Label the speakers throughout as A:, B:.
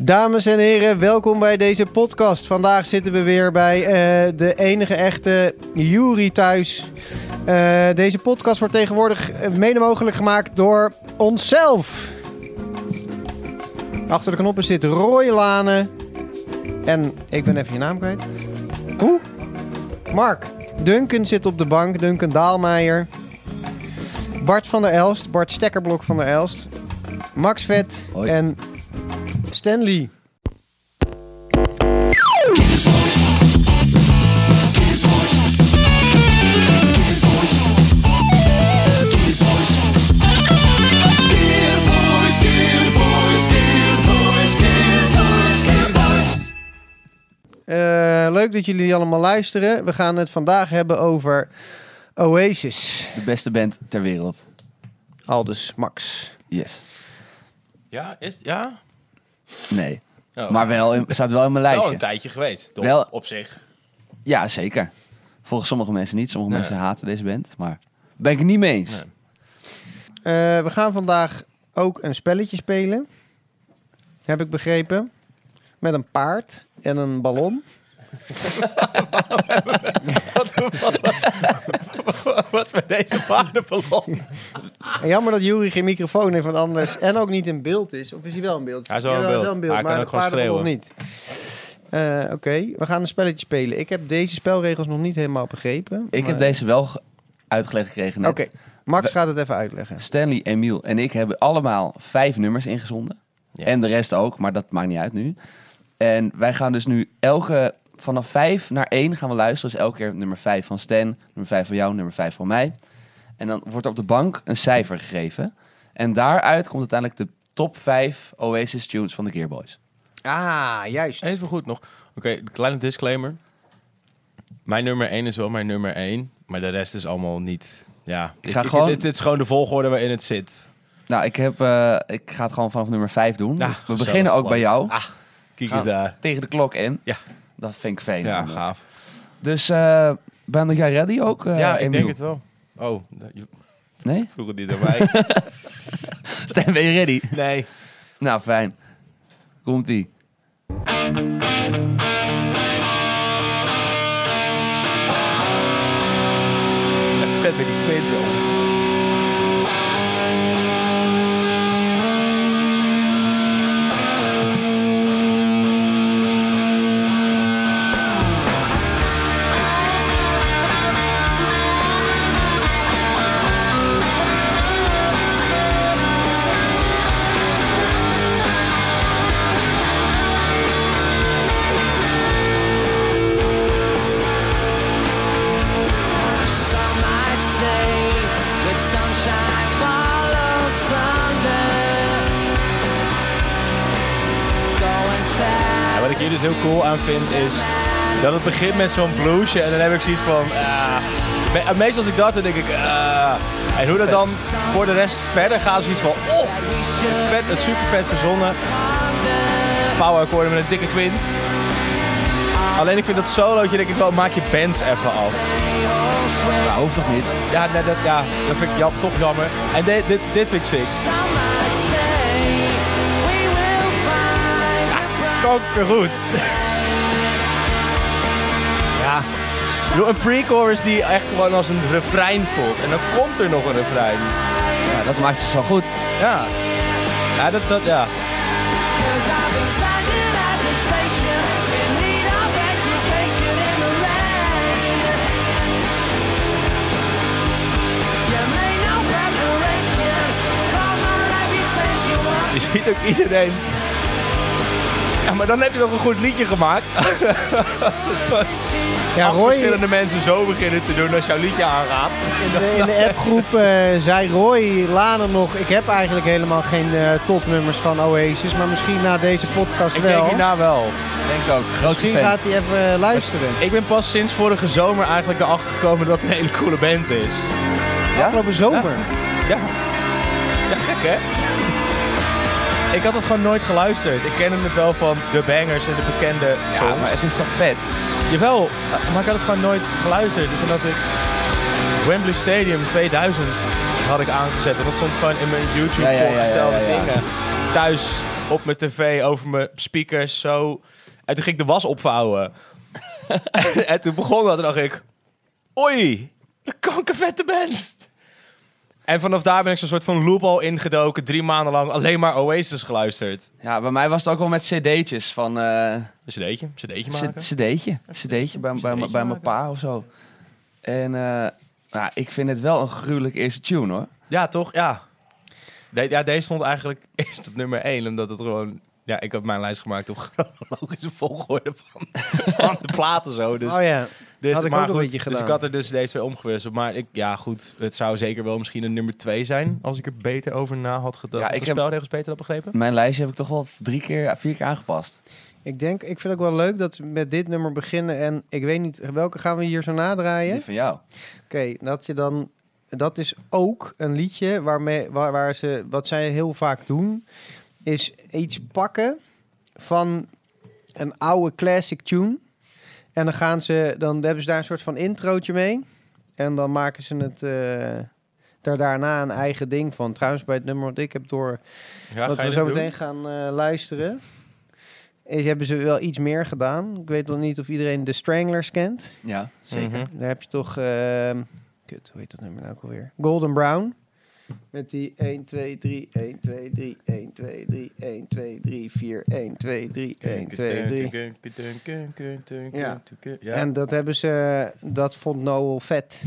A: Dames en heren, welkom bij deze podcast. Vandaag zitten we weer bij eh, de enige echte Jury thuis. Eh, deze podcast wordt tegenwoordig eh, mede mogelijk gemaakt door onszelf. Achter de knoppen zit Roy Lane. En ik ben even je naam kwijt. Hoe? Mark. Duncan zit op de bank. Duncan Daalmeijer. Bart van der Elst. Bart Stekkerblok van der Elst. Max Vet.
B: Hoi.
A: En Stanley. Eh, leuk dat jullie allemaal luisteren. We gaan het vandaag hebben over Oasis.
B: De beste band ter wereld.
A: Aldus Max.
B: Yes.
C: Ja, is ja.
B: Nee.
C: Oh.
B: Maar wel, in, staat wel in mijn
C: wel
B: lijstje.
C: een tijdje geweest. Toch?
B: Wel-
C: Op zich.
B: ja, zeker. Volgens sommige mensen niet. Sommige
C: Nee.
B: mensen haten deze band. Maar ben ik het niet mee eens.
C: Nee.
A: Eh, we gaan vandaag ook een spelletje spelen. Heb ik begrepen. Met een paard en een ballon.
C: Wat is met deze paardenballon?
A: En jammer dat Jury geen microfoon heeft, want anders... En ook niet in beeld is. Of is hij wel in beeld?
C: Hij is wel in
A: Jawel,
C: beeld. Hij kan
A: maar
C: ook gewoon
A: de paardenballon niet. Eh, Oké, we gaan een spelletje spelen. Ik heb deze spelregels nog niet helemaal begrepen.
B: Ik
A: maar-
B: heb deze wel ge- uitgelegd gekregen net.
A: Oké, Max gaat het even uitleggen.
B: Stanley, Emiel en ik hebben allemaal vijf nummers ingezonden.
C: Ja.
B: En de rest ook, maar dat maakt niet uit nu. En wij gaan dus nu elke... Vanaf vijf naar één gaan we luisteren. Dus elke keer nummer vijf van Stan, nummer vijf van jou, nummer vijf van mij. En dan wordt op de bank een cijfer gegeven. En daaruit komt uiteindelijk de top vijf Oasis tunes van de Gearboys.
A: Ah, juist.
C: Even goed nog. Oké, een kleine disclaimer. Mijn nummer 1 is wel mijn nummer 1, maar de rest is allemaal niet. Ja,
B: Ik ga gewoon-
C: Dit, dit is gewoon de volgorde waarin het zit.
B: Nou, ik, heb, eh, ik ga het gewoon vanaf nummer vijf doen.
C: Nou,
B: we
C: gezellig,
B: beginnen ook
C: man.
B: bij jou.
C: Ah, kijk
B: Gaan-
C: eens daar.
B: Tegen de klok in.
C: Ja.
B: Dat vind ik fijn.
C: Ja,
B: man.
C: gaaf.
B: Dus eh, ben jij ready ook? eh,
C: ja, ik
B: Emiel?
C: denk het wel. Oh, je
B: Nee?
C: vroeg het niet aan mij.
B: Stijn, ben je ready?
C: nee.
B: Nou, fijn. Komt-ie.
C: Vet met die kwint, joh.
D: Some might say that sunshine follows thunder. Go and tell
C: Ja, wat ik hier dus heel cool aan vind is dat het begint met zo'n bluesje en dan heb ik zoiets van. ah. Me- meestal als ik dat doe, denk ik. ah. en hoe dat dan voor de rest verder gaat, is zoiets van. Oh,
D: that we should
C: vet, het super vet verzonnen.
D: wander.
C: Power akkoorden met een dikke kwint. Alleen ik vind dat solootje, denk ik wel, maak je band even af.
B: Nou, hoeft toch niet?
C: Ja, nee, dat, ja, dat vind ik jam, toch jammer. En dit, dit, dit vind ik sick.
D: Some might say we will find a
C: Kankergoed. Ja. Doe een pre-chorus die echt gewoon als een refrein voelt. En dan komt er nog een refrein.
B: Ja, dat maakt ze zo goed.
C: Ja. Ja, dat, dat, ja.
D: Cause I've been standing at this station in need of education in the rain. You made no preparations for my reputation. was
C: Je ziet ook iedereen. Ja, maar dan heb je toch een goed liedje gemaakt.
D: suspicious.
A: Ja,
C: Als
A: Roy,
C: verschillende mensen zo beginnen te doen als jouw liedje aangaat.
A: In de, in de appgroep eh, zei Roy Lanen nog... ik heb eigenlijk helemaal geen eh, topnummers van Oasis... maar misschien na deze podcast
C: Ik
A: wel. Dus
C: denk hierna wel.
B: Denk ook. Grootste
A: misschien
B: fan.
A: gaat hij even eh, luisteren.
C: Ik ben pas sinds vorige zomer eigenlijk erachter gekomen dat het een hele coole band is.
A: Afgelopen zomer.
C: Ja. Ja, gek hè? Ik had het gewoon nooit geluisterd. Ik kende het wel van de bangers en de bekende
B: Ja,
C: songs.
B: maar het is toch vet?
C: Jawel, maar ik had het gewoon nooit geluisterd. En Toen had ik Wembley Stadium 2000 had ik aangezet. En dat stond gewoon in mijn YouTube
B: Ja, ja, ja,
C: voorgestelde
B: ja, ja, ja.
C: dingen. Thuis op mijn tv over mijn speakers zo. En toen ging ik de was opvouwen. en toen begon dat en dacht ik... Oei, de kankervette band. En vanaf daar ben ik zo'n soort van loop al ingedoken. Drie maanden lang alleen maar Oasis geluisterd.
B: Ja, bij mij was het ook wel met cd'tjes van... eh,
C: Een cd'tje, een cd'tje
B: C-
C: maken.
B: cd'tje. cd'tje bij, bij, bij mijn pa of zo. En eh, ja, ik vind het wel een gruwelijk eerste tune hoor.
C: Ja, toch? Ja. De- ja, deze stond eigenlijk eerst op nummer 1, omdat het gewoon... Ja, ik had mijn lijst gemaakt op chronologische volgorde van, van de platen zo. Dus,
A: oh ja.
C: dus,
A: had ik
C: maar
A: ook een
C: goed,
A: beetje
C: dus
A: gedaan.
C: ik had er dus deze twee omgewisseld. Maar ik, ja, goed, het zou zeker wel misschien een nummer 2 zijn, als ik er beter over na had gedacht.
B: Ja,
C: Ja,
B: ik
C: ik de
B: heb-
C: spelregels beter had begrepen.
B: Mijn lijstje heb ik toch wel drie keer, vier keer aangepast.
A: Ik denk, ik vind ook wel leuk dat we met dit nummer beginnen. En ik weet niet, welke gaan we hier zo nadraaien?
B: Die van jou.
A: Oké, dat je dan. Dat is ook een liedje waarmee, waar, waar ze. Wat zij heel vaak doen. Is iets pakken van een oude classic tune. En dan gaan ze. Dan hebben ze daar een soort van introotje mee. En dan maken ze het. eh, daar daarna een eigen ding van. Trouwens, bij het nummer wat ik heb door.
C: Ja,
A: wat we zo meteen gaan eh, luisteren. Is, hebben ze wel iets meer gedaan. Ik weet nog niet of iedereen de Stranglers kent.
B: Ja, zeker.
A: Daar heb je toch... ehm, kut, hoe heet dat nummer nou ook alweer? Golden Brown. Met die 1, 2, 3, 1, 2, 3, 1, 2, 3, 1, 2, 3, 4, 1, 2, 3, 1, 2, 3. Ja. En dat hebben ze... Dat vond Noel vet.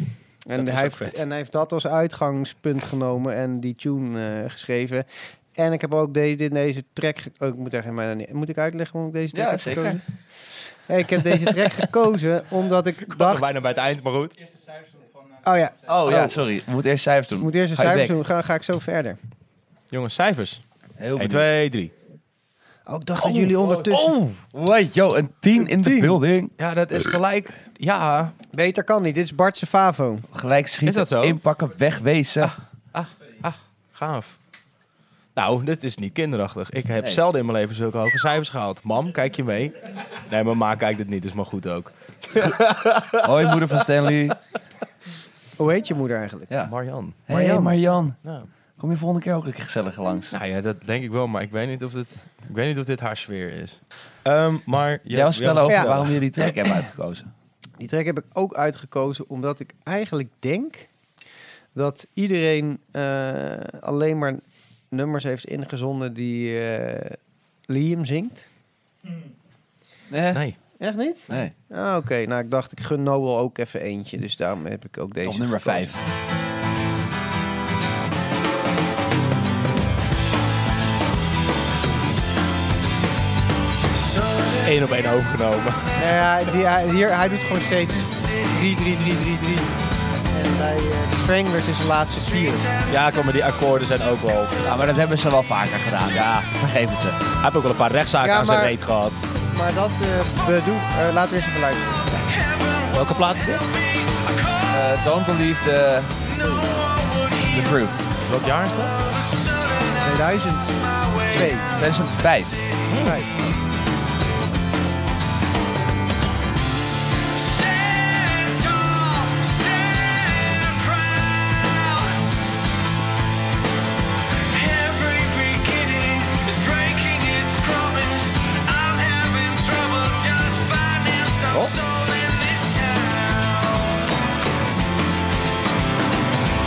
A: En
C: Dat is
A: hij,
C: ook
A: heeft,
C: vet.
A: en hij heeft dat als uitgangspunt genomen en die tune eh, geschreven. En ik heb ook deze, dit- deze track... ge- Oh, ik moet, echt, maar niet, moet ik uitleggen waarom ik deze track
B: Ja,
A: heb
B: zeker.
A: gekozen? Nee, ik heb deze track gekozen omdat ik
C: Dacht
A: dacht...
C: bijna bij het eind, maar goed.
A: Oh ja,
B: Oh, ja,
A: Oh.
B: sorry. We moeten eerst cijfers doen.
A: Ik moet eerst een
B: Ga je
A: cijfers
B: back?
A: doen, ga, ga ik zo verder.
C: Jongens, cijfers.
B: Heel
C: 1,
B: benieuwd.
C: 2, 3.
A: Oh, ik dacht dat jullie ondertussen...
B: Oh, wait, yo, een 10 in de
A: Tien.
B: building.
C: Ja, dat is gelijk. Ja,
A: Beter kan niet, dit is Bartse Favo.
B: Gelijk
C: Is dat
B: schieten,
C: zo?
B: inpakken, wegwezen.
C: Gaaf. Nou, dit is niet kinderachtig. Ik heb
B: Nee.
C: zelden in mijn leven zulke hoge cijfers gehaald. Mam, kijk je mee? Nee, mijn ma kijkt het niet, is maar goed ook.
B: Hoi, moeder van Stanley.
A: Hoe heet je moeder eigenlijk?
B: Ja.
C: Marjan.
B: Hey,
A: Marjan.
B: Marjan.
C: Nou.
B: Kom je volgende keer ook een keer gezellig langs?
C: nou ja, dat denk ik wel, maar ik weet niet of dit, ik weet niet of dit haar sfeer is. Ehm, maar
B: Jij was vertellen over
A: Ja.
B: waarom je die track hebt uitgekozen.
A: Die track heb ik ook uitgekozen omdat ik eigenlijk denk dat iedereen eh, alleen maar nummers heeft ingezonden die eh, Liam zingt.
B: Nee.
C: Nee,
A: Echt niet?
B: nee.
A: Ah, Oké, nou ik dacht ik gun Noel ook even eentje, dus daarom heb ik ook deze
B: Op nummer
A: gekozen.
B: 5.
C: één op één overgenomen.
A: Nou ja, die, hij, hier, hij doet gewoon steeds 3-3-3-3-3. En bij eh, Stranglers is de laatste 4.
C: Ja, kom, maar die akkoorden zijn ook wel...
B: Ja, maar dat hebben ze wel vaker gedaan. Ja, vergeef het ze.
C: Hij heeft ook wel een paar rechtszaken
A: Ja,
C: aan zijn
A: maar-
C: reet gehad.
A: Maar dat eh bedoel... eh, laten we eens even luisteren.
C: Welke plaats is dit?
B: Eh, don't believe the, the truth.
C: Welk jaar is dat?
A: 2002.
B: 2005.
A: Vijf.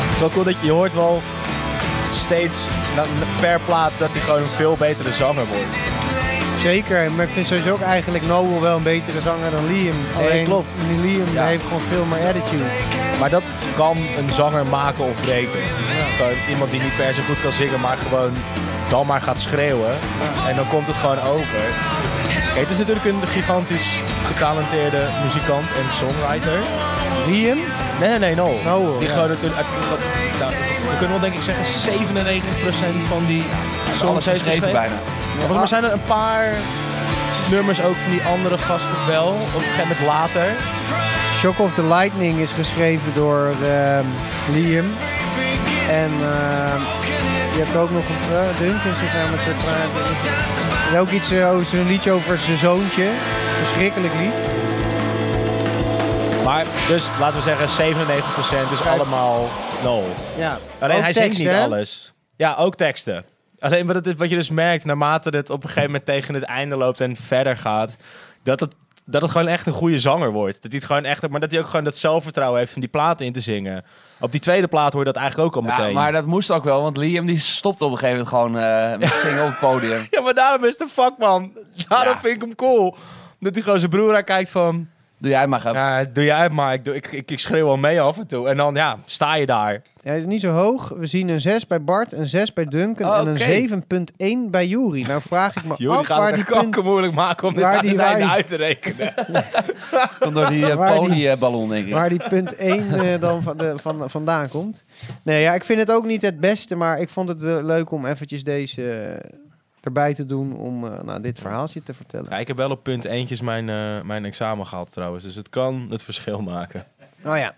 C: Het is wel cool dat je, je hoort wel steeds na- na- per plaat dat hij gewoon een veel betere zanger wordt.
A: Zeker, maar ik vind sowieso ook eigenlijk Noel wel een betere zanger dan Liam. Alleen,
C: klopt.
A: die Liam
C: Ja.
A: heeft gewoon veel meer attitude.
C: Maar dat kan een zanger maken of breken. Gewoon iemand die niet per se goed kan zingen, maar gewoon dan maar gaat schreeuwen. En dan komt het gewoon over. Kijk, het is natuurlijk een gigantisch getalenteerde muzikant en songwriter.
A: Liam?
C: Nee, nee, nee, no.
A: Noel,
C: die
A: ja.
C: gewoon natuurlijk... uit- uit- nou, we kunnen wel denk ik zeggen 97% van die
B: Alles
C: songs heeft
B: geschreven bijna.
C: Maar volgens mij zijn er een paar nummers ook van die andere gasten wel. Op een gegeven moment later.
A: Shock of the Lightning is geschreven door ehm, Liam. En ehm, je hebt ook nog een uh, Duncan zit daar met te praten. En ook iets eh, over een liedje over zijn zoontje. Verschrikkelijk lied.
C: Maar dus laten we zeggen 97% is allemaal nul.
A: Ja.
C: Alleen
A: Ook
C: hij
A: tekst,
C: zingt niet
A: hè?
C: alles. Ja, ook teksten. Alleen wat, het, wat je dus merkt, naarmate het op een gegeven moment tegen het einde loopt en verder gaat, dat het, dat het gewoon echt een goede zanger wordt. Dat hij het gewoon echt, maar dat hij ook gewoon dat zelfvertrouwen heeft om die platen in te zingen. Op die tweede plaat hoor je dat eigenlijk ook al
B: Ja,
C: meteen.
B: maar dat moest ook wel, want Liam die stopte op een gegeven moment gewoon eh, met zingen op het podium.
C: Ja, maar daarom is de fuck, man. Daarom
B: Ja.
C: vind ik hem cool. Dat hij gewoon zijn broer aankijkt van...
B: Doe jij maar gaan.
C: Ja, doe jij het maar. Ik, doe- ik, ik, ik schreeuw al mee af en toe. En dan, ja, sta je daar.
A: Hij is niet zo hoog. We zien een 6 bij Bart, een 6 bij Duncan
B: Oh, oké.
A: en een 7.1 bij Jury. Nou vraag ik me
C: Jullie
A: af
C: gaan
A: waar
C: het
A: die
C: echt
A: punt...
C: kanker moeilijk maken om dit
A: Waar
C: aan
A: die-
C: het
A: waar
C: einde
A: die-
C: uit te rekenen.
B: Komt door die
A: Waar
B: eh,
A: die-
B: pony-ballon, denk ik.
A: Waar die punt 1 eh, dan van de, van, vandaan komt. Nee, ja, ik vind het ook niet het beste, maar ik vond het eh, leuk om eventjes deze eh, erbij te doen om eh, nou, dit verhaaltje te vertellen.
C: Ja, ik heb wel op punt eentjes mijn, eh, mijn examen gehad trouwens. Dus het kan het verschil maken.
A: Oh ja.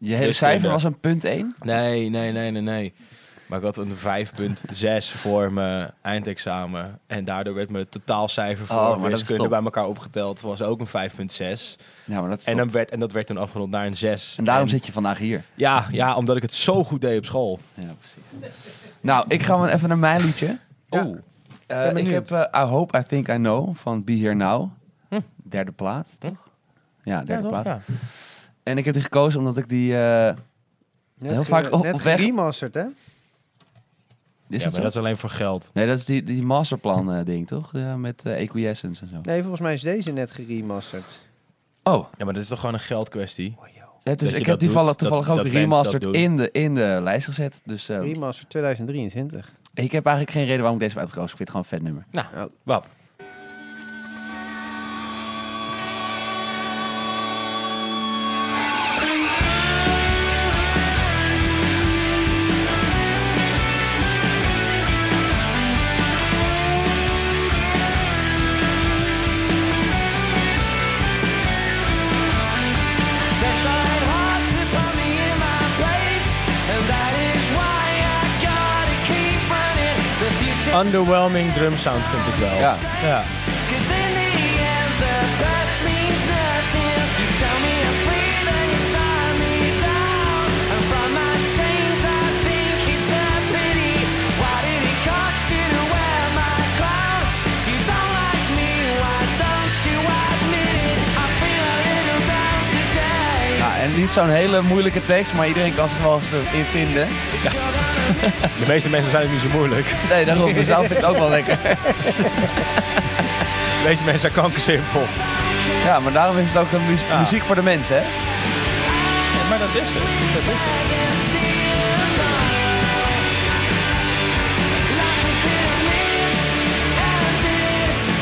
B: Je hele
C: Dus
B: cijfer
C: kinder.
B: was een punt 1.
C: Nee, nee, nee, nee, nee. Maar ik had een 5.6 voor mijn eindexamen. En daardoor werd mijn totaalcijfer voor
B: Oh, maar dat is
C: wiskunde
B: top.
C: bij elkaar opgeteld. Was ook een 5.6.
B: Ja, maar dat is
C: En,
B: top.
C: dan werd, en dat werd toen afgerond naar een 6.
B: En daarom
C: En-
B: zit je vandaag hier.
C: Ja, ja, omdat ik het zo goed deed op school.
B: Ja, precies. Nou, ik ga maar even naar mijn liedje.
A: Ja.
B: Oeh. Eh, ik heb
A: benieuwd.
B: eh, I Hope I Think I Know van Be Here Now.
C: Hm.
B: Derde plaat, toch? Ja, derde plaat. En ik heb die gekozen omdat ik die... eh,
A: Net
B: Heel
A: ge-
B: vaak op- op
A: Net
B: weg.
A: geremasterd, hè?
B: is
C: Ja,
B: dat
C: maar
B: zo?
C: dat is alleen voor geld.
B: Nee, dat is die, die masterplan eh, ding, toch? Ja, met eh acquiescence en zo.
A: Nee, volgens mij is deze net geremasterd.
B: Oh,
C: Ja, maar dat is toch gewoon een geldkwestie?
B: het
C: Dat
B: is,
C: je
B: ik
C: dat
B: heb die vallen
C: doet,
B: toevallig
C: dat-
B: ook
C: dat mensen
B: remastered
C: dat doen.
B: in de, in de lijst gezet. Dus eh,
A: Remastered 2023.
B: ik heb eigenlijk geen reden waarom ik deze heb uitgekozen. Ik vind het gewoon een vet nummer.
C: Nou, wap.
D: They tried hard to put me in my place, and that is why I gotta keep running. The future,
C: Underwhelming drum sound vind ik wel.
B: Ja.
C: ja.
D: 'cause in the end, the past means nothing. You tell me I'm free, then you tie me down. And from my chains, I think it's a pity. Why did it cost you to wear my crown? You don't like me, why don't you admit it? I feel a little down today.
B: Ja, Nou, en niet zo'n hele moeilijke tekst, maar iedereen kan zich wel eens in vinden.
D: But you're gonna miss
C: De meeste mensen zijn ook niet zo moeilijk.
B: Nee, daarom. Dus dat vind ik het ook wel lekker.
C: De meeste mensen zijn kankersimpel.
B: Ja, maar daarom is het ook een muzie-
C: Ja.
B: muziek voor de mensen, hè?
C: maar dat is het. Dat is het.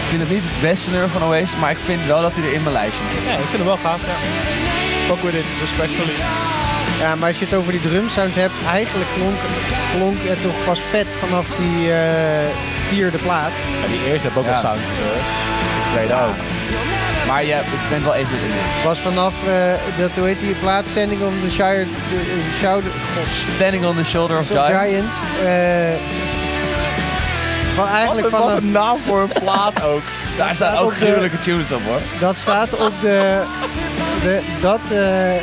B: Ik vind het niet het beste nummer van Oasis, maar ik vind wel dat hij er in mijn lijstje moet.
C: Ja, ik vind hem wel gaaf. Ja. Fuck with it, respectfully.
A: Ja, maar als je het over die drumsound hebt, eigenlijk klonk, klonk het toch pas vet vanaf die eh, vierde plaat.
C: Ja, die eerste heb ook
B: Ja.
C: wel sound. hoor. De tweede ook.
B: Maar ja, ik ben wel even met in.
A: Was vanaf eh, dat, hoe heet die plaat, Standing on the Shire, de, eh, Shoulder God,
B: Standing on the Shoulder of
A: Shoulder of
B: Giants.
A: Giants. eh, van eigenlijk
C: Wat een, wat
A: vanaf,
C: een naam voor een plaat ook.
B: Daar staan ook
A: op de-
B: gruwelijke tunes op, hoor.
A: dat staat op de, de dat eh,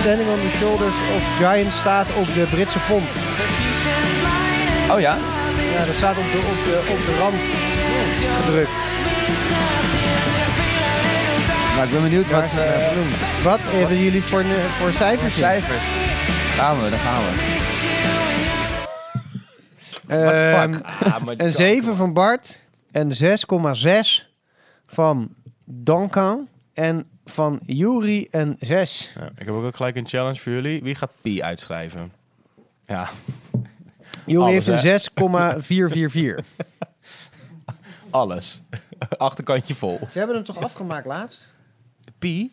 A: Standing on the Shoulders of Giants staat op de Britse font.
B: Oh ja?
A: Ja, dat staat op de, op de, op de rand gedrukt.
B: Maar ik ben benieuwd
A: Daar
B: wat
A: is het naar
B: eh
A: vernoemd. Wat hebben jullie voor, ne- voor cijfers? in?
B: cijfers. Gaan we, daar gaan we.
A: Ehm,
C: Ah, maar die
A: Een
C: kan-
A: 7 van Bart. Een 6,6 van Donkan. En van Yuri een 6.
C: Ja, ik heb ook gelijk een challenge voor jullie. Wie gaat pi uitschrijven? Ja,
A: Yuri
C: Alles,
A: heeft een
C: hè?
A: 6,444.
C: alles. Achterkantje vol.
A: Ze hebben hem toch afgemaakt laatst?
C: Pi?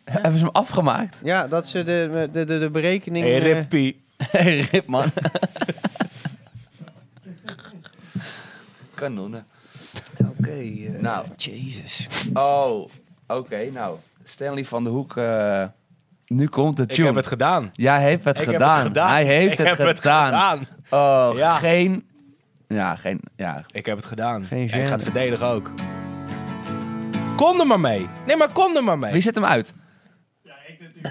B: Hebben ze hem afgemaakt?
A: Ja, dat ze de, de, de, de berekening...
C: Hey,
A: eh,
C: rip pi.
B: Hey, Rip, man. Kanonnen.
A: eh,
B: Oké. nou. Jezus. Oh, oké. nou, Stanley van de Hoek. eh, nu komt de
C: Ik
B: tune.
C: heb het gedaan.
B: Jij heeft het,
C: Ik heb
B: gedaan.
C: het gedaan.
B: Hij heeft
C: Ik
B: het,
C: heb
B: gedaan.
C: het gedaan.
B: Oh,
C: Ja.
B: geen... Ja, geen... Ja.
C: Ik heb het gedaan.
A: Geen
C: en ik
A: gêne.
C: ga het verdedigen ook. Kom er maar mee. Nee, maar kom er maar mee.
B: Wie zet hem uit?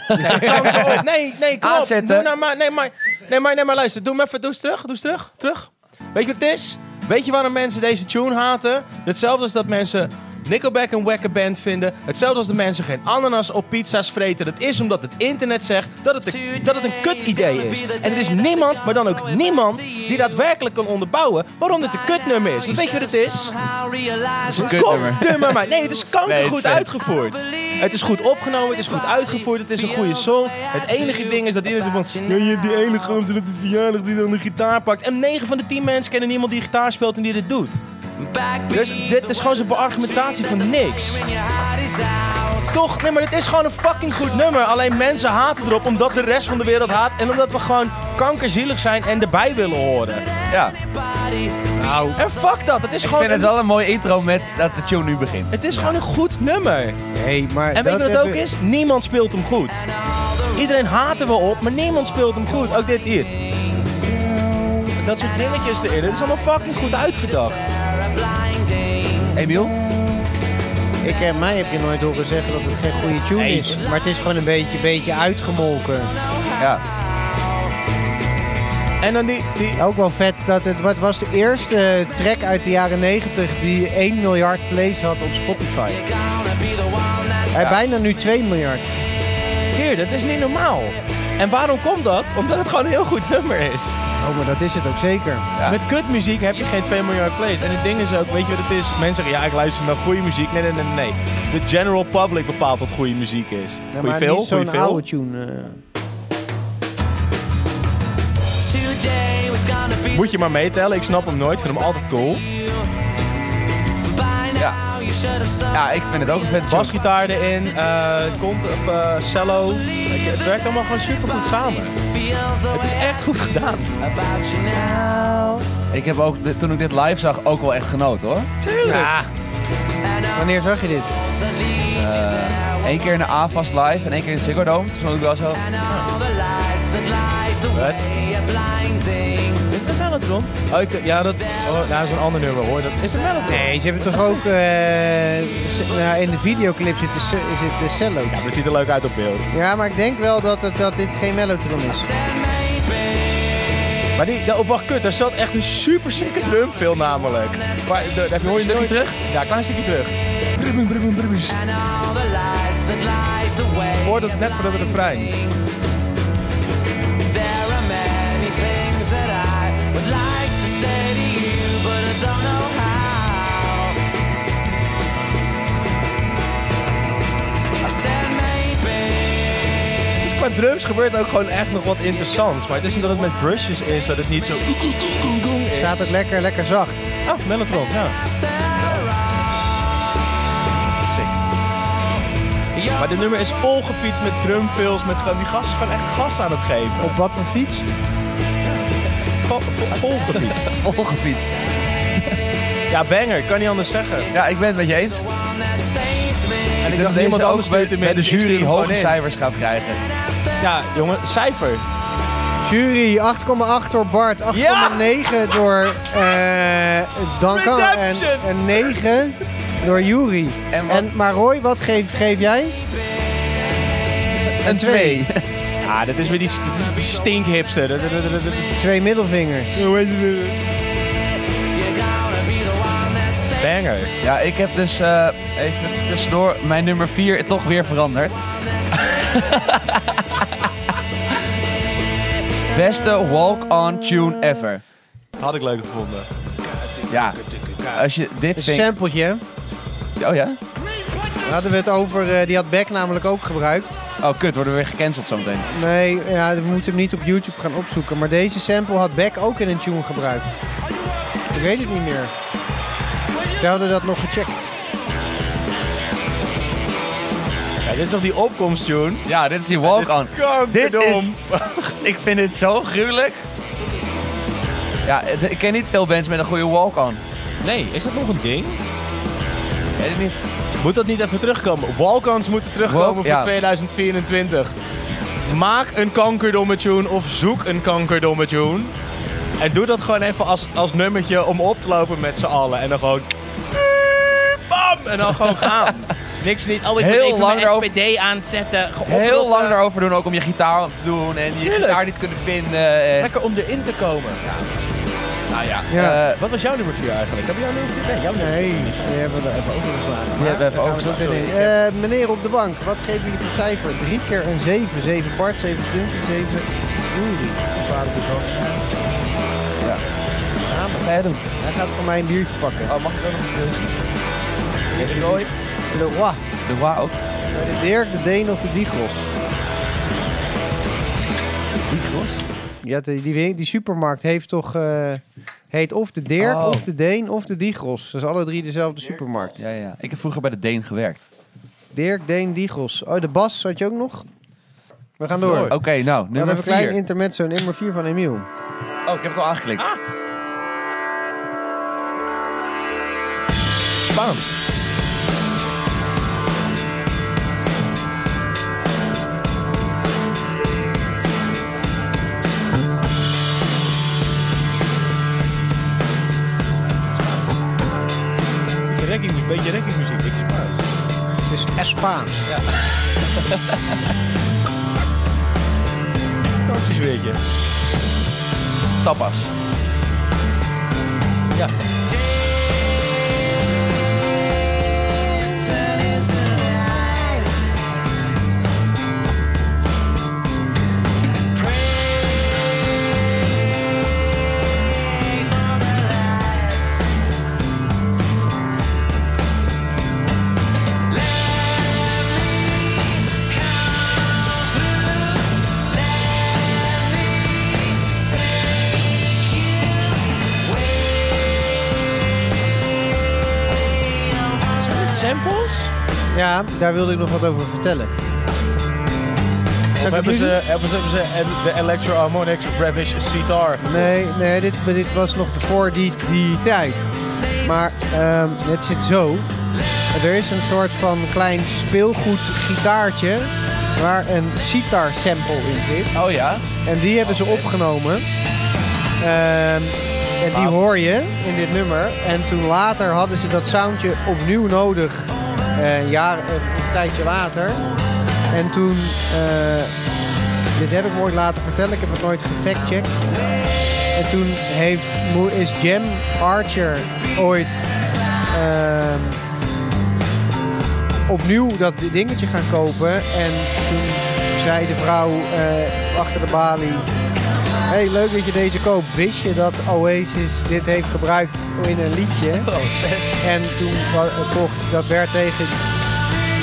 C: Oh, nee, nee, kom
B: Aanzetten.
C: op. Doe nou maar, nee, maar, nee, maar, nee, maar luister. Doe hem even, doe eens terug, doe eens terug, terug. Weet je wat het is? Weet je waarom mensen deze tune haten? Hetzelfde als dat mensen Nickelback een wekke band vinden. Hetzelfde als dat mensen geen ananas op pizza's vreten. Dat is omdat het internet zegt dat het een, dat het een kut idee is. En er is niemand, maar dan ook niemand, die daadwerkelijk kan onderbouwen waarom dit een kutnummer is. Want weet je wat het is?
B: een kutnummer.
C: Nummer maar. Nee, het is
B: Nee, het
C: kankergoed
B: is
C: goed
B: vet.
C: uitgevoerd. Het is goed opgenomen, het is goed uitgevoerd, het is een goede song. Het enige ding is dat iedereen zegt van... "Ja, je hebt die ene gozer op de verjaardag die dan de gitaar pakt. En 9 van de 10 mensen kennen niemand die gitaar speelt en die dit doet. Dus dit is gewoon zo'n beargumentatie van niks. Toch, nee, maar dit is gewoon een fucking goed nummer. Alleen mensen haten erop omdat de rest van de wereld haat. En omdat we gewoon kankerzielig zijn en erbij willen horen.
B: Ja.
C: Nou. En fuck dat, het is
B: Ik
C: gewoon...
B: vind het
C: een-
B: wel een mooi intro met dat de tune nu begint.
C: het is gewoon een goed nummer.
A: Hey, maar
C: En weet
A: dat
C: je wat het ook
A: hebben-
C: is? Niemand speelt hem goed. Iedereen haat er wel op, maar niemand speelt hem goed. Ook dit hier. Dat soort dingetjes erin. Het is allemaal fucking goed uitgedacht.
B: Emiel?
A: Ik en mij heb je nooit horen zeggen dat het geen goede tune
C: Nee.
A: is. Maar het is gewoon een beetje, beetje uitgemolken.
B: Ja.
C: En dan die... die
A: Ook wel vet dat het... Wat was de eerste eh, track uit de jaren 90 die 1 miljard plays had op Spotify? Hij bijna nu 2 miljard.
C: hier, dat is niet normaal. En waarom komt dat? Omdat het gewoon een heel goed nummer is.
A: Oh, maar dat is het ook zeker.
B: Ja.
C: Met kutmuziek heb je geen 2 miljard plays. En het ding is ook, weet je wat het is? Mensen zeggen, ja, ik luister naar goede muziek. Nee, nee, nee, nee. De general public bepaalt wat goede muziek is.
A: Ja,
C: goeie
A: maar
C: veel,
A: niet
C: goeie
A: zo'n
C: veel.
A: oude tune. eh.
D: Today was gonna be
C: Moet je maar meetellen. Ik snap hem nooit. Vind hem altijd cool.
D: by now.
B: Ja.
D: You should have saw
B: ja, ik vind het ook een vet tune.
C: Basgitaar erin, eh, kont of eh, cello. Weet je, Het werkt allemaal gewoon super goed samen.
D: feels
C: Het is echt goed gedaan.
D: about you now.
B: Ik heb ook, de- toen ik dit live zag, ook wel echt genoten hoor.
C: Tuurlijk. Ja,
A: Wanneer zag je dit?
B: Eén keer in de AFAS live en één keer in de Ziggo Dome. Toen vond ik wel zo...
C: wat? Is het een mellotron? Oh, ik- ja, dat, oh, nou, dat is een ander nummer hoor. Dat, is het een mellotron?
A: Nee, ze hebben toch ook... eh, ce- nou, in de videoclip zit de, ce- zit de cello.
C: Ja, maar het ziet er leuk uit op beeld.
A: Ja, maar ik denk wel dat, het, dat dit geen mellotron is.
C: Maar die, nou, op wacht, kut, daar zat echt een super sikke drumfil namelijk. Maar, de, dat hoor je
B: Stukje
C: nooit-
B: terug?
C: Ja, klein stukje terug. Voordat, net voordat het refrein. Dus qua drums gebeurt ook gewoon echt nog wat interessants. Maar het is omdat het met brushes is dat het niet zo...
A: Staat ook lekker, lekker zacht.
C: Ah, Mellotron, ja. Sick. Maar dit nummer is volgefietst met drumfills, met gewoon- die gasten gewoon echt gas aan het geven.
A: Op wat voor fiets?
C: Vol, vol, volgefietst.
B: Volgefietst.
C: Ja, banger, kan niet anders zeggen.
B: Ja, ik ben het met je eens.
C: En
B: Ik denk dat deze ook bij, bij de jury hoge cijfers gaat krijgen.
C: Ja, jongen, cijfer.
A: Jury 8,8 door Bart, 8,9 door eh Duncan en,
C: Redemption!
A: en 9 door Jury.
B: En
A: En,
B: wat-
A: maar Roy, wat geef, geef jij?
B: Een
A: twee.
B: 2.
C: Ja, dit is weer die, dit is die stinkhipster. Dat- dat- dat- dat- dat-
A: Twee middelvingers.
C: Banger.
B: Ja, ik heb dus eh, even tussendoor mijn nummer 4 toch weer veranderd. Beste walk-on tune ever.
C: Had ik leuk gevonden.
B: Ja, als je dit
A: Een
B: vindt...
A: sampletje. hè?
B: Oh ja?
A: Daar hadden we het over, eh, die had Beck namelijk ook gebruikt.
B: Oh kut, worden we weer gecanceld zometeen.
A: Nee, ja, we moeten hem niet op YouTube gaan opzoeken. Maar deze sample had Beck ook in een tune gebruikt. Ik weet het niet meer. We hadden dat nog gecheckt.
C: Ja, dit is toch die opkomsttune?
B: Ja, dit is die walk-on. Dit is... Ik vind dit zo gruwelijk. Ja, eh, ik ken niet veel bands met een goede walk-on.
C: Nee, is dat nog een ding?
B: Weet het niet.
C: Moet dat niet even terugkomen? Walkons moeten terugkomen
B: Walk-
C: voor
B: ja.
C: 2024. Maak een kankerdomme tune of zoek een kankerdomme tune. En doe dat gewoon even als, als nummertje om op te lopen met z'n allen. En dan gewoon... Bam! En dan gewoon gaan. Niks niet. Oh, ik
B: Heel
C: moet even
B: lang
C: mijn
B: erover-
C: SPD aanzetten.
B: Heel lang daarover doen, ook om je gitaar op te doen en je
C: eh, Tuurlijk.
B: gitaar niet kunnen vinden. eh.
C: Lekker om erin te komen. Ah ja.
A: Ja.
B: Eh,
C: Wat was jouw nummer 4 eigenlijk? Heb je jouw nummer 4? Nee, jouw nummer
A: Oh, Nee,
C: vier.
A: die hebben we er even overgeslagen.
B: Die hebben we even
A: Daar gaan we
B: overgeslagen,
A: zo meteen in. Eh, meneer op de bank, wat geven jullie voor cijfer? Drie keer een 7. 7 Bart, 7 Duncan, 7 Jury. Vader de bank.
B: wat ga jij doen?
A: Hij gaat voor mij een biertje pakken.
B: Oh, mag ik ook nog een keer? De Roy.
A: Le Roy.
B: De Roy ook.
A: De Dirk, de Deen of de Diegros?
B: Die gros.
A: Ja, die, die, die supermarkt heeft toch... eh, heet of de Dirk,
B: Oh.
A: of de Deen, of de Diegros. Dat is alle drie dezelfde supermarkt.
B: Ja, ja. Ik heb vroeger bij de Deen gewerkt.
A: Dirk, Deen, Diegros. Oh, de Bas had je ook nog? We gaan door.
C: Door.
B: Oké, nou,
A: We hebben
B: nummer
A: een klein
B: 4.
A: intermezzo, nummer 4 van Emiel.
B: Oh, ik heb het al aangeklikt.
C: Spaans. Een beetje rekkingmuziek, ik Spaans.
A: Het is Espaans.
C: Vakantiesweertje.
B: Tapas.
C: Ja. Zijn dit samples?
A: Ja, daar wilde ik nog wat over vertellen.
C: Of
A: ik
C: hebben
A: het
C: ze,
A: nu
C: hebben ze, hebben ze en- de Electro Harmonics Ravish Sitar?
A: Nee, nee dit, dit was nog voor die, die tijd. Maar ehm, het zit zo. Er is een soort van klein speelgoed gitaartje waar een sitar sample in zit.
B: Oh ja.
A: En die hebben ze opgenomen. Ehm, en die hoor je in dit nummer. En toen later hadden ze dat soundje opnieuw nodig. Eh, een, jaar, eh, een tijdje later. En toen... eh, dit heb ik me ooit laten vertellen. Ik heb het nooit gefactcheckt. En toen heeft, moe- is Jam Archer ooit... ehm, opnieuw dat dingetje gaan kopen. En toen zei de vrouw eh, achter de balie... hey, leuk dat je deze koopt. Wist je dat Oasis dit heeft gebruikt in een liedje? En toen wa- kocht, dat werd tegen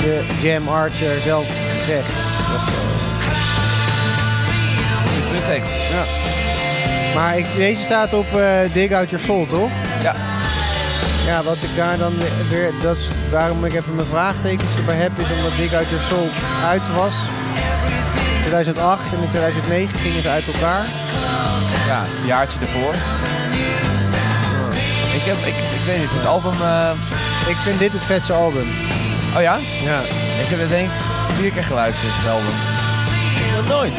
A: de Jam Archer zelf gezegd.
B: Perfect.
A: Maar ik, deze staat op eh, Dig Out Your Soul, toch?
B: Ja.
A: Ja, wat ik daar dan weer... Dat is waarom ik even mijn vraagtekens erbij heb, is omdat Dig Out Your Soul uit was. In 2008 en in 2009 gingen ze uit elkaar.
B: Ja, een jaartje ervoor. Ik heb, ik, ik weet niet, het album... eh,
A: Ik vind dit het vetste album.
B: Oh ja?
A: Ja.
B: Ik heb het denk ik vier keer geluisterd, het album.
C: Nog nooit.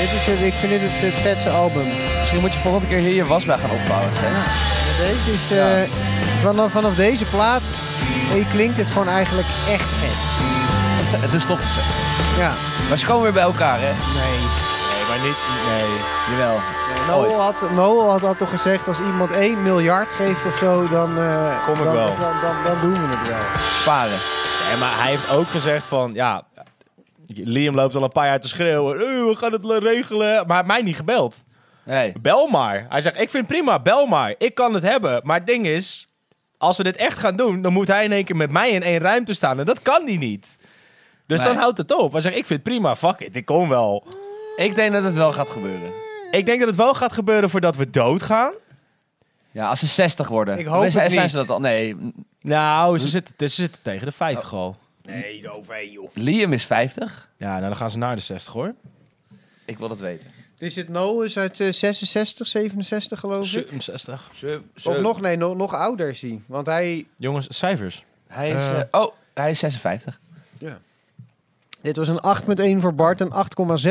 A: Dit is het, ik vind dit het, het vetste album.
B: Misschien moet je volgende keer hier je was bij gaan opbouwen, hè?
A: Deze is... eh, vanaf, vanaf deze plaat eh, klinkt het gewoon eigenlijk echt vet.
B: En toen stopten ze.
A: Ja.
B: Maar ze komen weer bij elkaar, hè?
A: Nee.
C: Nee, maar niet. Nee.
B: Jawel. Ooit.
A: Noel had, Noel had, had toch gezegd, als iemand 1 miljard geeft of zo, dan, eh,
C: Kom ik
A: dan,
C: wel.
A: Dan, dan, dan doen we het wel.
B: Sparen.
C: Nee, maar hij heeft ook gezegd van, ja, Liam loopt al een paar jaar te schreeuwen. "Eh, we gaan het le- regelen. Maar hij heeft mij niet gebeld.
B: Nee.
C: Bel maar. Hij zegt, ik vind het prima, bel maar. Ik kan het hebben. Maar het ding is, als we dit echt gaan doen, dan moet hij in één keer met mij in één ruimte staan. En dat kan hij niet. Dus
B: Nee.
C: dan houdt het op. Hij zegt, ik vind het prima, fuck it, ik kom wel.
B: Ik denk dat het wel gaat gebeuren.
C: Ik denk dat het wel gaat gebeuren voordat we doodgaan.
B: Ja, als ze 60 worden.
A: Ik hoop
B: Nee, zijn,
A: het
B: zijn
A: niet.
B: ze dat al? Nee. m-
C: Nou, ze zitten, ze zitten tegen de 50 al.
B: Liam is 50.
C: Oh. Ja, nou, dan gaan ze naar de 60 hoor.
B: Ik wil dat weten.
A: Is het Noel is uit eh, 66, 67 geloof ik?
C: 67.
A: Of nog, nee, nog, nog ouder is hij. Want hij,
C: Jongens, cijfers.
B: eh, oh, Hij is...
C: Eh.
B: eh, oh, hij is 56.
A: Dit was een 8,1 voor Bart, een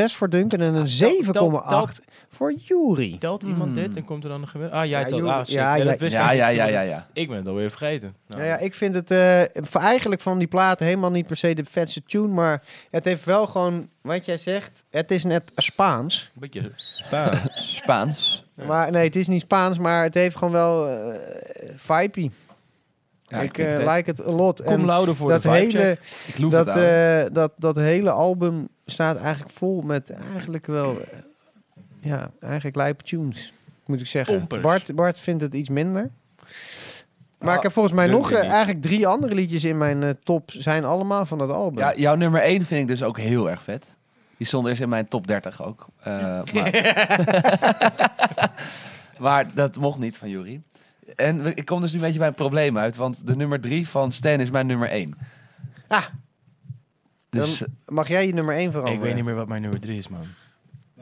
A: 8,6 voor Duncan en een 7,8 voor Jury.
C: Telt iemand dit en komt er dan een gemiddelde? Ah, jij
A: Ja,
C: telt.
A: joh,
C: Ah, shit.
A: ja,
C: Ja,
A: jij-
C: dat wist
B: Ja,
C: ik
B: ja,
C: niet.
B: ja, ja, ja.
C: Ik ben het alweer vergeten. Nou,
A: Ja, ja, ik vind het eh, v- eigenlijk van die platen helemaal niet per se de vetste tune, maar het heeft wel gewoon, wat jij zegt, het is net Spaans.
C: Een beetje
B: Spaans.
A: Maar nee, het is niet Spaans, maar het heeft gewoon wel eh vibe.
B: Ja,
A: ik
B: vind
A: eh,
B: het vet.
A: like het a lot. En
C: Kom louder voor
A: dat
C: de vibe check.
A: hele,
B: ik loef
A: dat,
B: het aan.
A: eh, dat, dat hele album staat eigenlijk vol met eigenlijk wel, eh, ja, eigenlijk lijpe tunes, moet ik zeggen.
C: Pompers.
A: Bart, Bart vindt het iets minder. Maar
B: Ah,
A: ik heb volgens mij
C: Duncan
A: nog eh,
C: niet.
A: eigenlijk drie andere liedjes in mijn eh, top zijn allemaal van dat album.
B: Ja, jouw nummer 1 vind ik dus ook heel erg vet. Die stond eerst in mijn top 30 ook. Eh, maar... maar dat mocht niet van Jury. En we- ik kom dus nu een beetje bij een probleem uit, want de nummer 3 van Stan is mijn nummer 1.
A: Ah.
B: Dus eh,
A: Mag jij je nummer 1 veranderen?
C: Ik weet niet meer wat mijn nummer 3 is, man.
E: Nee,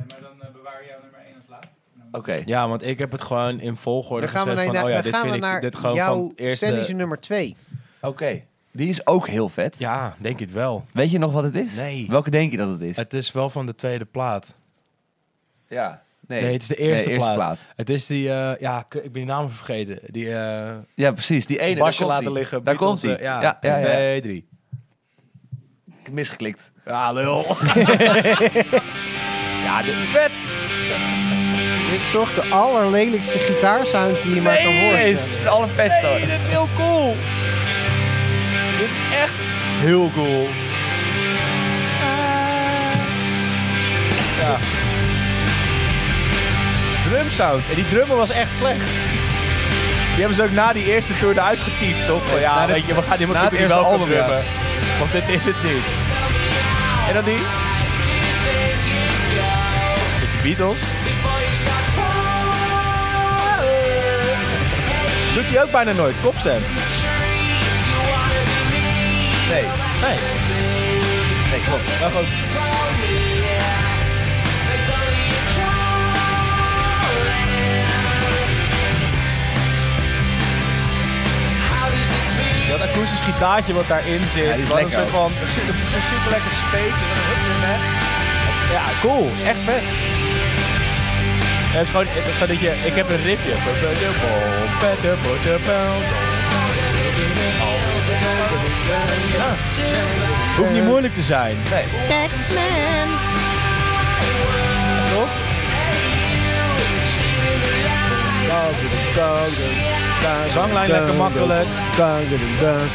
E: maar dan eh, bewaar je jouw nummer 1 als laatst. En dan-
B: eh, oké.
C: Ja, want ik heb het gewoon in volgorde
A: Dan gaan we
C: gezet
A: naar,
C: van, oh ja,
A: dan
C: dit
A: gaan
C: vind
A: we
C: ik,
A: naar
C: dit gewoon
A: jouw
C: van het
A: Stanley's
C: eerste...
A: nummer 2.
B: Oké. Die is ook heel vet.
C: Ja, denk het wel.
B: Weet je nog wat het is?
C: Nee.
B: Welke denk je dat het is?
C: Het is wel van de tweede plaat.
B: ja. Nee.
C: Nee, het is de
B: Nee,
C: eerste, plaat. Het is die, eh, ja, k- ik ben die naam vergeten. Die eh
B: Ja, precies. Die ene.
C: basje
B: daar komt
C: laten
B: die.
C: liggen.
B: Daar
C: Beatles,
B: komt hij.
C: eh, Ja, eh,
B: ja, ja,
C: één,
B: ja.
C: twee, drie.
B: Ik heb misgeklikt.
C: Ja, lul. ja, dit vet.
A: Dit is toch de allerlelijkste gitaarsound die je maar kan horen.
B: Nee, is het allervetste.
C: Nee, dit is heel cool. Dit is echt heel cool. Ja. Drumsound. En die drummer was echt slecht. Die hebben ze ook na die eerste tour eruit getiefd, toch? Van ja,
B: na de-
C: weet je, we gaan iemand
B: na het
C: zoeken die wel
B: eerste
C: kan
B: album, ja.
C: drummen. Want dit is het niet. En dan die? Met de Beatles. Doet hij ook bijna nooit, kopstem.
B: Nee,
C: Nee,
B: nee, klopt.
C: maar gewoon... Dat akoestisch gitaartje wat daarin zit.
B: die is
C: gewoon een
B: lekker
C: soort van... Het is een super lekker space. En dan hup weer weg. Het is- Ja, cool. Echt vet. Ja, het is gewoon, het is gewoon dat je... Ik heb een riffje. Ja. Hoeft niet moeilijk te zijn. Toch? Zanglijn lekker makkelijk.
B: Ja, inderdaad.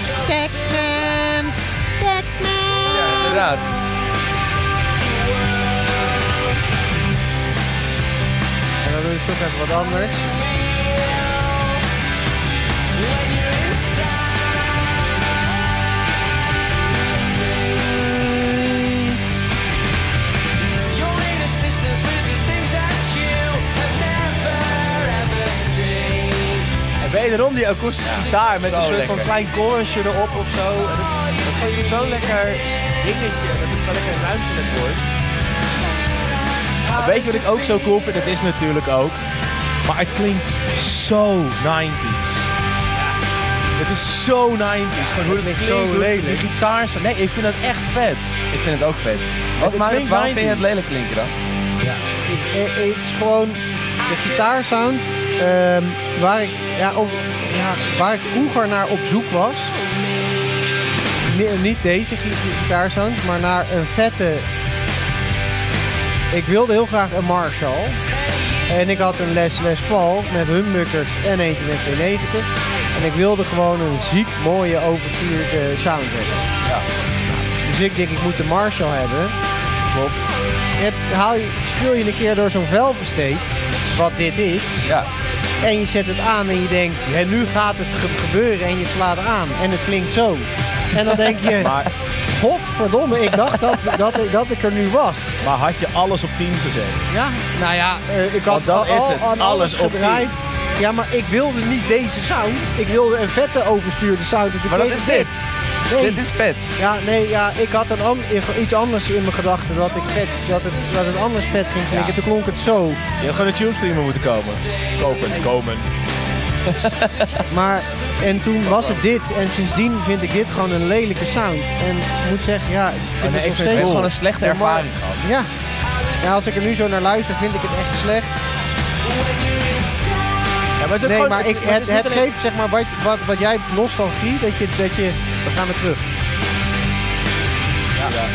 A: En dan doen we toch even wat anders.
C: En wederom die akoestische gitaar met
B: zo
C: een soort van
B: lekker.
C: klein chorusje erop of zo. En dat, dat geeft hem zo'n lekker dingetje. en Dat het wel lekker ruimtelijk wordt. En weet je wat ik ook zo cool vind? Dat is natuurlijk ook. Maar het klinkt zo 90s. Het is zo 90s. Gewoon hoe het
A: klinkt
C: klinkt,
A: zo
C: hoe die
A: lelijk.
C: gitaars. Nee, ik vind dat echt vet.
B: Ik vind het ook vet. Wat
C: het
B: maakt het,
C: klinkt
B: waarom vind je het
C: 90s.
B: lelijk klinken dan?
A: Ik, eh, eh, het is gewoon de gitaarsound ehm, waar, ik, ja, over, ja, waar ik vroeger naar op zoek was. Ni- niet deze gi- gitaarsound, maar naar een vette... Ik wilde heel graag een Marshall. En ik had een Les Les Paul met humbuckers en eentje met P90's. En ik wilde gewoon een ziek mooie overstuurde sound hebben.
B: Ja.
A: Dus ik denk, ik moet de Marshall hebben.
B: Klopt.
A: Heb, haal je, speel je een keer door zo'n velversteed, wat dit is,
B: Ja.
A: en je zet het aan en je denkt, hè, nu gaat het ge- gebeuren en je slaat aan en het klinkt zo. En dan denk je,
C: Maar,
A: godverdomme, ik dacht dat, dat, ik- dat ik er nu was.
C: maar had je alles op 10 gezet?
A: Ja, nou ja, eh, ik had
C: Want dan
A: al,
C: is het
A: al aan alles
C: alles op
A: gedraaid. Ja, maar ik wilde niet deze sound. Ik wilde een vette overstuurde sound.
B: Maar dat is dit.
A: Nee.
B: Dit is vet.
A: Ja, nee, ja, ik had een an- iets anders in mijn gedachten. Dat, ik vet- dat, het, dat het anders vet ging klinken. Toen klonk het zo.
C: Je had gewoon een tune streamer moeten komen. Kopen, komen.
A: Maar, en toen was het dit. En sindsdien vind ik dit gewoon een lelijke sound. En ik moet zeggen, ja, ik
B: Oh,
A: vind het nog
C: nee, ik vind het
A: steeds...
B: best wel een
A: Ja,
B: slechte
A: maar-
B: ervaring gehad.
A: Ja. ja, als ik er nu zo naar luister, vind ik het echt slecht.
C: Ja, maar het is ook
A: Nee,
C: gewoon-
A: maar ik,
C: is
A: het,
C: niet
A: het
C: alleen-
A: geeft zeg maar wat, wat, wat jij nostalgie, dat je, dat je... We gaan weer terug.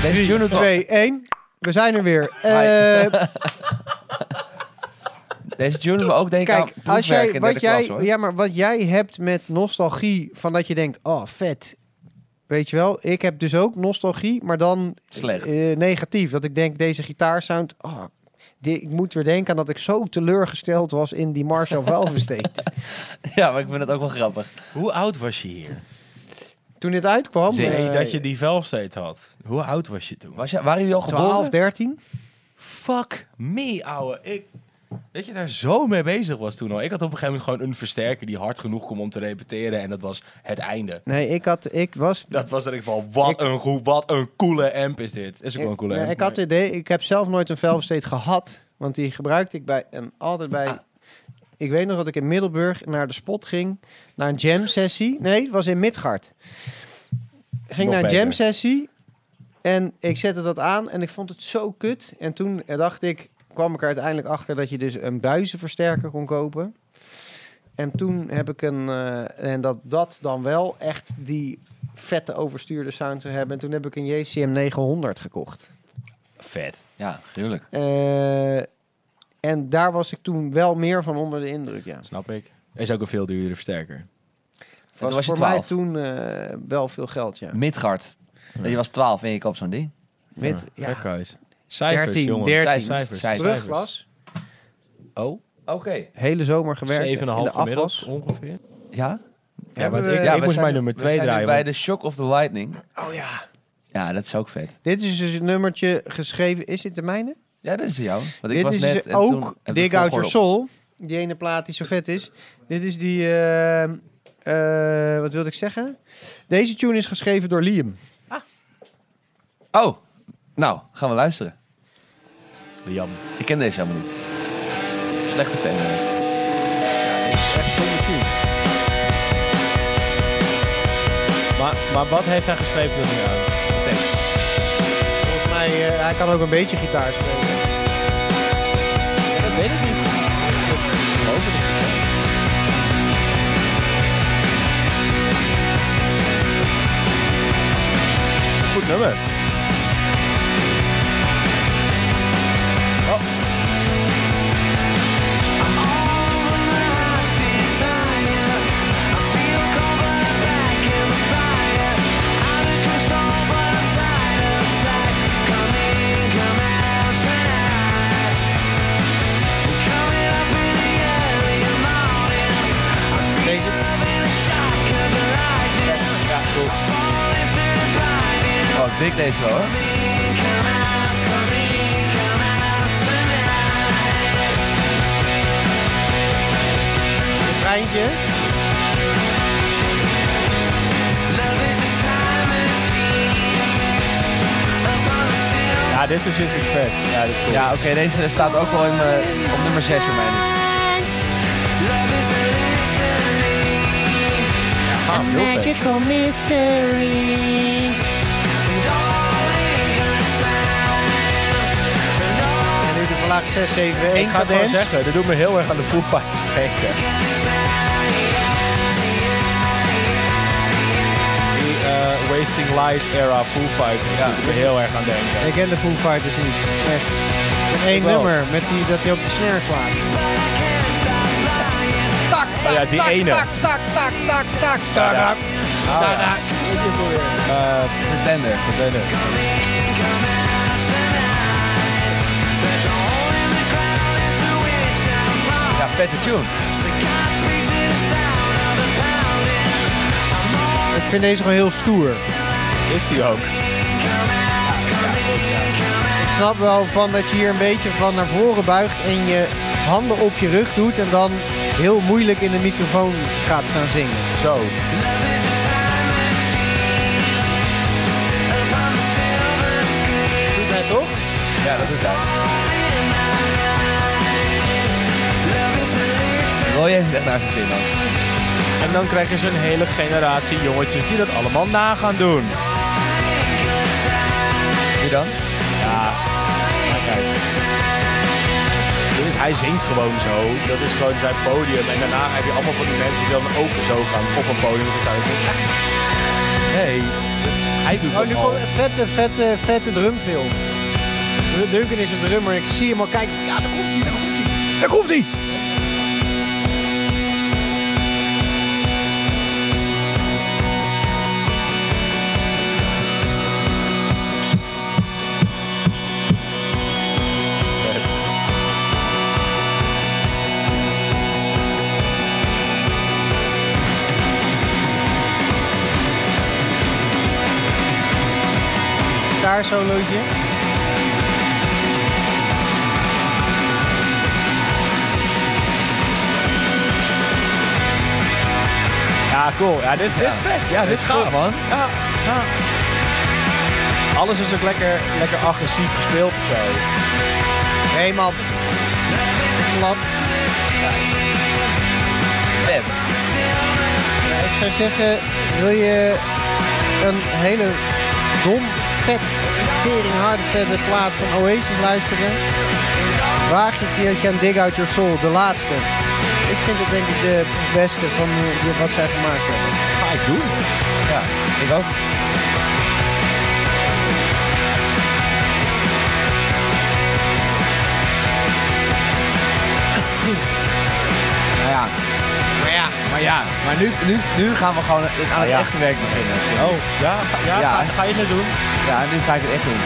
B: Deze tune doet,
A: 2, 1. We zijn er weer.
B: Hi.
A: Eh,
B: deze tune doet me ook denken
A: kijk,
B: aan
A: als jij,
B: in
A: wat
B: derde
A: jij,
B: klas, hoor.
A: ja, maar wat jij hebt met nostalgie, van dat je denkt, oh vet. Weet je wel, ik heb dus ook nostalgie, maar dan
B: Slecht.
A: eh, negatief. Dat ik denk, deze gitaarsound, oh, die, ik moet weer denken aan dat ik zo teleurgesteld was in die Marshall Valversteed.
B: Ja, maar ik vind het ook wel grappig.
C: Hoe oud was je hier?
A: Toen dit uitkwam,
C: Nee,
A: eh,
C: dat je die Velfsteed had. Hoe oud was je toen?
B: Was jij, waren jullie al
A: 12,
B: geboren?
A: 13.
C: Fuck me, ouwe. Ik, dat je daar zo mee bezig was toen al. Ik had op een gegeven moment gewoon een versterker die hard genoeg kon om te repeteren. En dat was het einde.
A: Nee, ik, had, ik was
C: Dat was dat ik van, wat
A: Ik-
C: een goed, wat een coole amp is dit. Is ook wel een
A: Ik,
C: coole
A: nee,
C: amp.
A: ik had het idee, ik heb zelf nooit een Velverstate gehad, want die gebruikte ik bij en altijd bij.
C: Ah.
A: Ik weet nog dat ik in Middelburg naar de spot ging, naar een jam sessie. Nee, het was in Midgard. Ik ging
C: Nog
A: naar een jam
C: beter.
A: sessie en ik zette dat aan en ik vond het zo kut. En toen eh, dacht ik, kwam ik er uiteindelijk achter dat je dus een buizenversterker kon kopen. En toen heb ik een, eh, en dat dat dan wel echt die vette overstuurde sound zou hebben. En toen heb ik een JCM 900 gekocht.
C: Vet.
B: Ja, tuurlijk.
A: Eh, en daar was ik toen wel meer van onder de indruk, ja.
C: Snap ik. Is ook een veel duurder versterker.
B: toen was je
A: voor
B: 12.
A: mij toen eh, wel veel geld, ja.
B: Midgard. Je was 12 en je koopt zo'n ding.
A: Met, ja,
C: Gek, huis. Cijfers,
A: 13,
C: jongens.
A: 13.
C: Cijfers, Cijfers.
B: Cijfers.
A: terugklas.
C: Oh,
B: Oké.
A: Hele zomer gewerkt.
C: 7,5
A: in de
C: gemiddeld
A: afwas.
C: ongeveer.
B: Ja?
C: Ja, maar
A: Hebben
C: ik,
A: we-
B: ja,
C: ik
B: we
C: moest
B: zijn
C: mijn nummer
B: We
C: 2
B: zijn nu
C: draaien.
B: bij
C: want-
B: de Shock of the Lightning.
C: Oh ja.
B: Ja, dat is ook vet.
A: Dit is dus een nummertje geschreven. Is dit de mijne?
B: Ja, dat is jou. Want ik
A: dit
B: was
A: is
B: net
A: dus
B: en toen
A: ook
B: heb ik
A: Dig
B: het
A: Out Your
B: volgorde op.
A: Soul. Die ene plaat die zo vet is. Dit is die... eh, eh, wat wilde ik zeggen? Deze tune is geschreven door Liam.
B: Oh, nou, gaan we luisteren.
C: Liam.
B: Ik ken deze helemaal niet. Slechte fan ben ik.
C: Maar, maar wat heeft hij geschreven tot nu aan?
A: Volgens mij, eh, hij kan ook een beetje gitaar spelen.
C: Dat weet ik niet. Goed nummer.
B: Oh, dik deze wel, hoor.
A: Een treintje.
C: Ja, dit is natuurlijk vet. Ja, dit is cool.
B: Ja, oké, deze staat ook wel in, eh, op nummer 6 voor mij nu.
C: gaaf, heel vet.
A: En nu de verlaag 6, 7, 1
C: Ik ga het gewoon
A: cadens.
C: zeggen, dit doet me heel erg aan de Foo Fighters denken. Die eh, Wasting Light era Foo Fighters, ja. doet me heel erg aan denken.
A: Ik ken de Foo Fighters niet. Echt. Met één
C: wel.
A: nummer, met die, dat hij op de snare slaat.
C: Oh ja, die ene.
A: Tak, tak, tak, tak.
C: Tada.
A: Ah.
C: Tada. Eh,
B: Pretender.
C: wat ben ik?
B: Ja, vette tune.
A: Ik vind deze gewoon heel stoer.
C: Is die ook?
A: Ik snap wel van dat je hier een beetje van naar voren buigt en je handen op je rug doet en dan heel moeilijk in de microfoon gaat staan zingen.
C: Zo.
A: Doet hij toch?
B: Ja, dat is hij. Roy heeft het echt naar zijn zin, man.
C: En dan krijg je zo'n hele generatie jongetjes die dat allemaal na gaan doen.
B: Wie dan?
C: Ja, maar kijk. Dus hij zingt gewoon zo. Dat is gewoon zijn podium. En daarna heb je allemaal van die mensen die dan ook zo gaan op een podium. Dat zou ik niet- Nee, hij doet
A: Oh,
C: dat
A: nu
C: al.
A: komt een vette, vette, vette drumfilm. Dun- Duncan is een drummer en ik zie hem al kijken. Ja, daar komt hij, daar komt hij. Daar komt hij!
C: Vet.
A: Gitaarsolootje.
C: Ja, cool. Ja, dit, dit is vet. Ja, dit, is
B: gaaf,
C: cool.
B: man.
C: Ja, ja. Alles is ook lekker, lekker agressief gespeeld of zo.
A: Helemaal plat.
B: Pep.
A: Ik zou zeggen, wil je een hele dom, vet, tering harde, vette plaat van Oasis luisteren? Waag je een keertje aan Dig Out Your Soul, de laatste. Ik vind het denk ik de beste van eh, wat zij gemaakt hebben.
C: Ga ik doen.
B: Ja, ik ook. Nou Nou ja,
A: Maar ja,
B: maar ja, maar nu, nu, nu gaan we gewoon het- aan het
C: ja.
B: echte werk beginnen.
C: Oh, ja, ga, ja,
B: Ja.
C: Ga, ga je het doen?
B: Ja, nu ga ik het echt doen.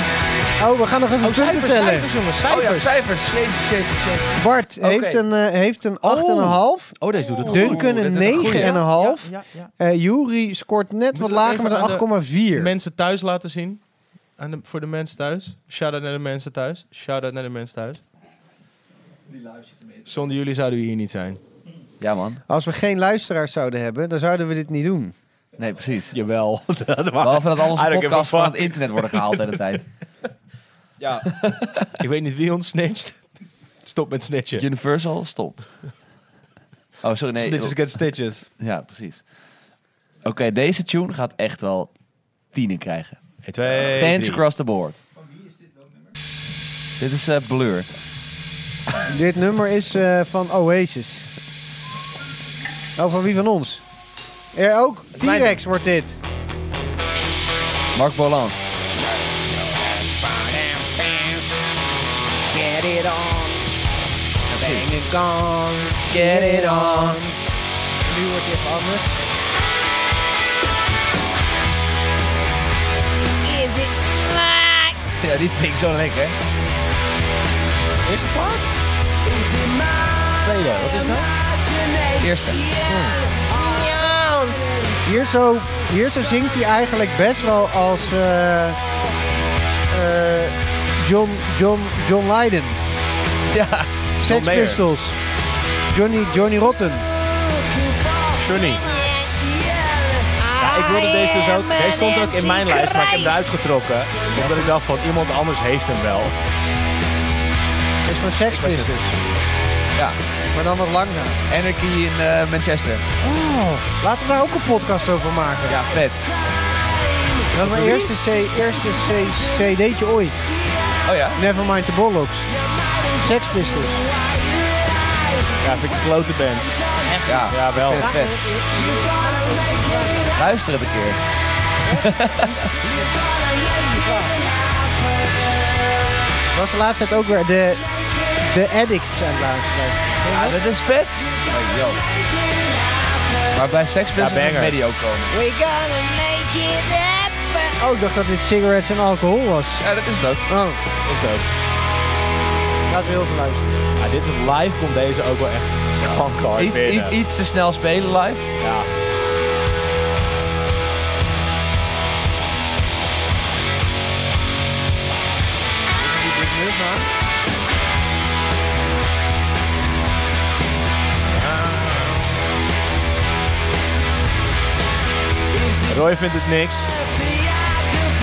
A: oh, we gaan nog even punten tellen.
C: jongens,
B: Oh ja,
C: cijfers.
B: cijfers. Jezus, jezus, jezus.
A: Bart
B: Oké.
A: heeft een, eh, heeft een 8,5.
C: Oh, deze doet het
A: Duncan een 9,5.
E: Ja, ja.
A: Eh Jury scoort net
E: Moet
A: wat
E: het
A: lager
E: even
A: met
E: aan de-
A: een 8,4.
E: Mensen thuis laten zien. Aan de, voor de mensen thuis. Shout-out naar de mensen thuis. Shout-out naar de mensen thuis. Zonder jullie zouden we hier niet zijn.
B: Ja man,
A: Als we geen luisteraars zouden hebben, dan zouden we dit niet doen.
B: nee precies.
C: Jawel. dat
B: Behalve dat al
C: I
B: onze
C: don't give a
B: podcasts van
C: fuck.
B: het internet worden gehaald de hele tijd.
C: Ja. ik weet niet wie ons snitcht. Stop met snitchen.
B: Universal, stop. Oh, sorry, nee.
C: Snitches get stitches.
B: Ja, precies. Oké, deze tune gaat echt wel tienen krijgen.
C: 1, 2,
B: Tens across the board. Dit is eh, Blur.
A: Dit nummer is eh, van Oasis. Oh, van wie van ons? Er ook.
B: mijn
A: T-Rex wordt dit.
B: Mark Bolan.
D: Get it on. Bang it gone.
B: Get it on.
A: Nu wordt dit anders.
D: Is it like?
B: Ja, die vind ik zo lekker.
C: Eerste plaat?
D: Is it my
C: Tweede, wat is nou?
D: imagination?
B: Eerste.
A: Hier zo, hier zo zingt hij eigenlijk best wel als eh, eh, John, John, John Lydon.
B: Ja.
A: Sex
C: Mayer.
A: Pistols. Johnny, Johnny Rotten.
C: Sunny. Ja, ik wilde deze dus ook... Deze stond ook in mijn lijst, maar ik heb hem eruit getrokken. Omdat ik dacht van, iemand anders heeft hem wel.
A: is van Sex
C: was het.
A: Pistols.
B: Ja.
A: Maar dan wat langer.
B: Anarchy in eh, Manchester.
A: Laten we daar ook een podcast over maken.
B: Ja, vet.
A: Dat is mijn eerste, C, eerste C, CD'tje ooit.
B: Oh ja.
A: Nevermind the Bollocks. Sex Pistols.
C: Ja, vind ik een klote band.
B: Ja,
C: Ja, wel.
B: Vet, vet. Luister het een keer.
A: Was de laatste tijd ook weer de, de Addicts aan het luisteren.
B: Ja, Ah, dat is vet. Oh, yo. Maar bij Sex Pistols
C: Ja,
B: moet
C: banger.
B: Medi ook komen.
D: We're gonna make it happen.
A: Oh, ik dacht dat dit cigarettes en alcohol was.
B: Ja, dat is het ook.
A: Oh,
C: Is dat.
A: laten we heel veel luisteren.
C: Ja, dit is live komt deze ook wel echt kanker
B: Iets-
C: binnen.
B: iets- iets te snel spelen live.
C: Ja. Roy vindt het niks.
D: The I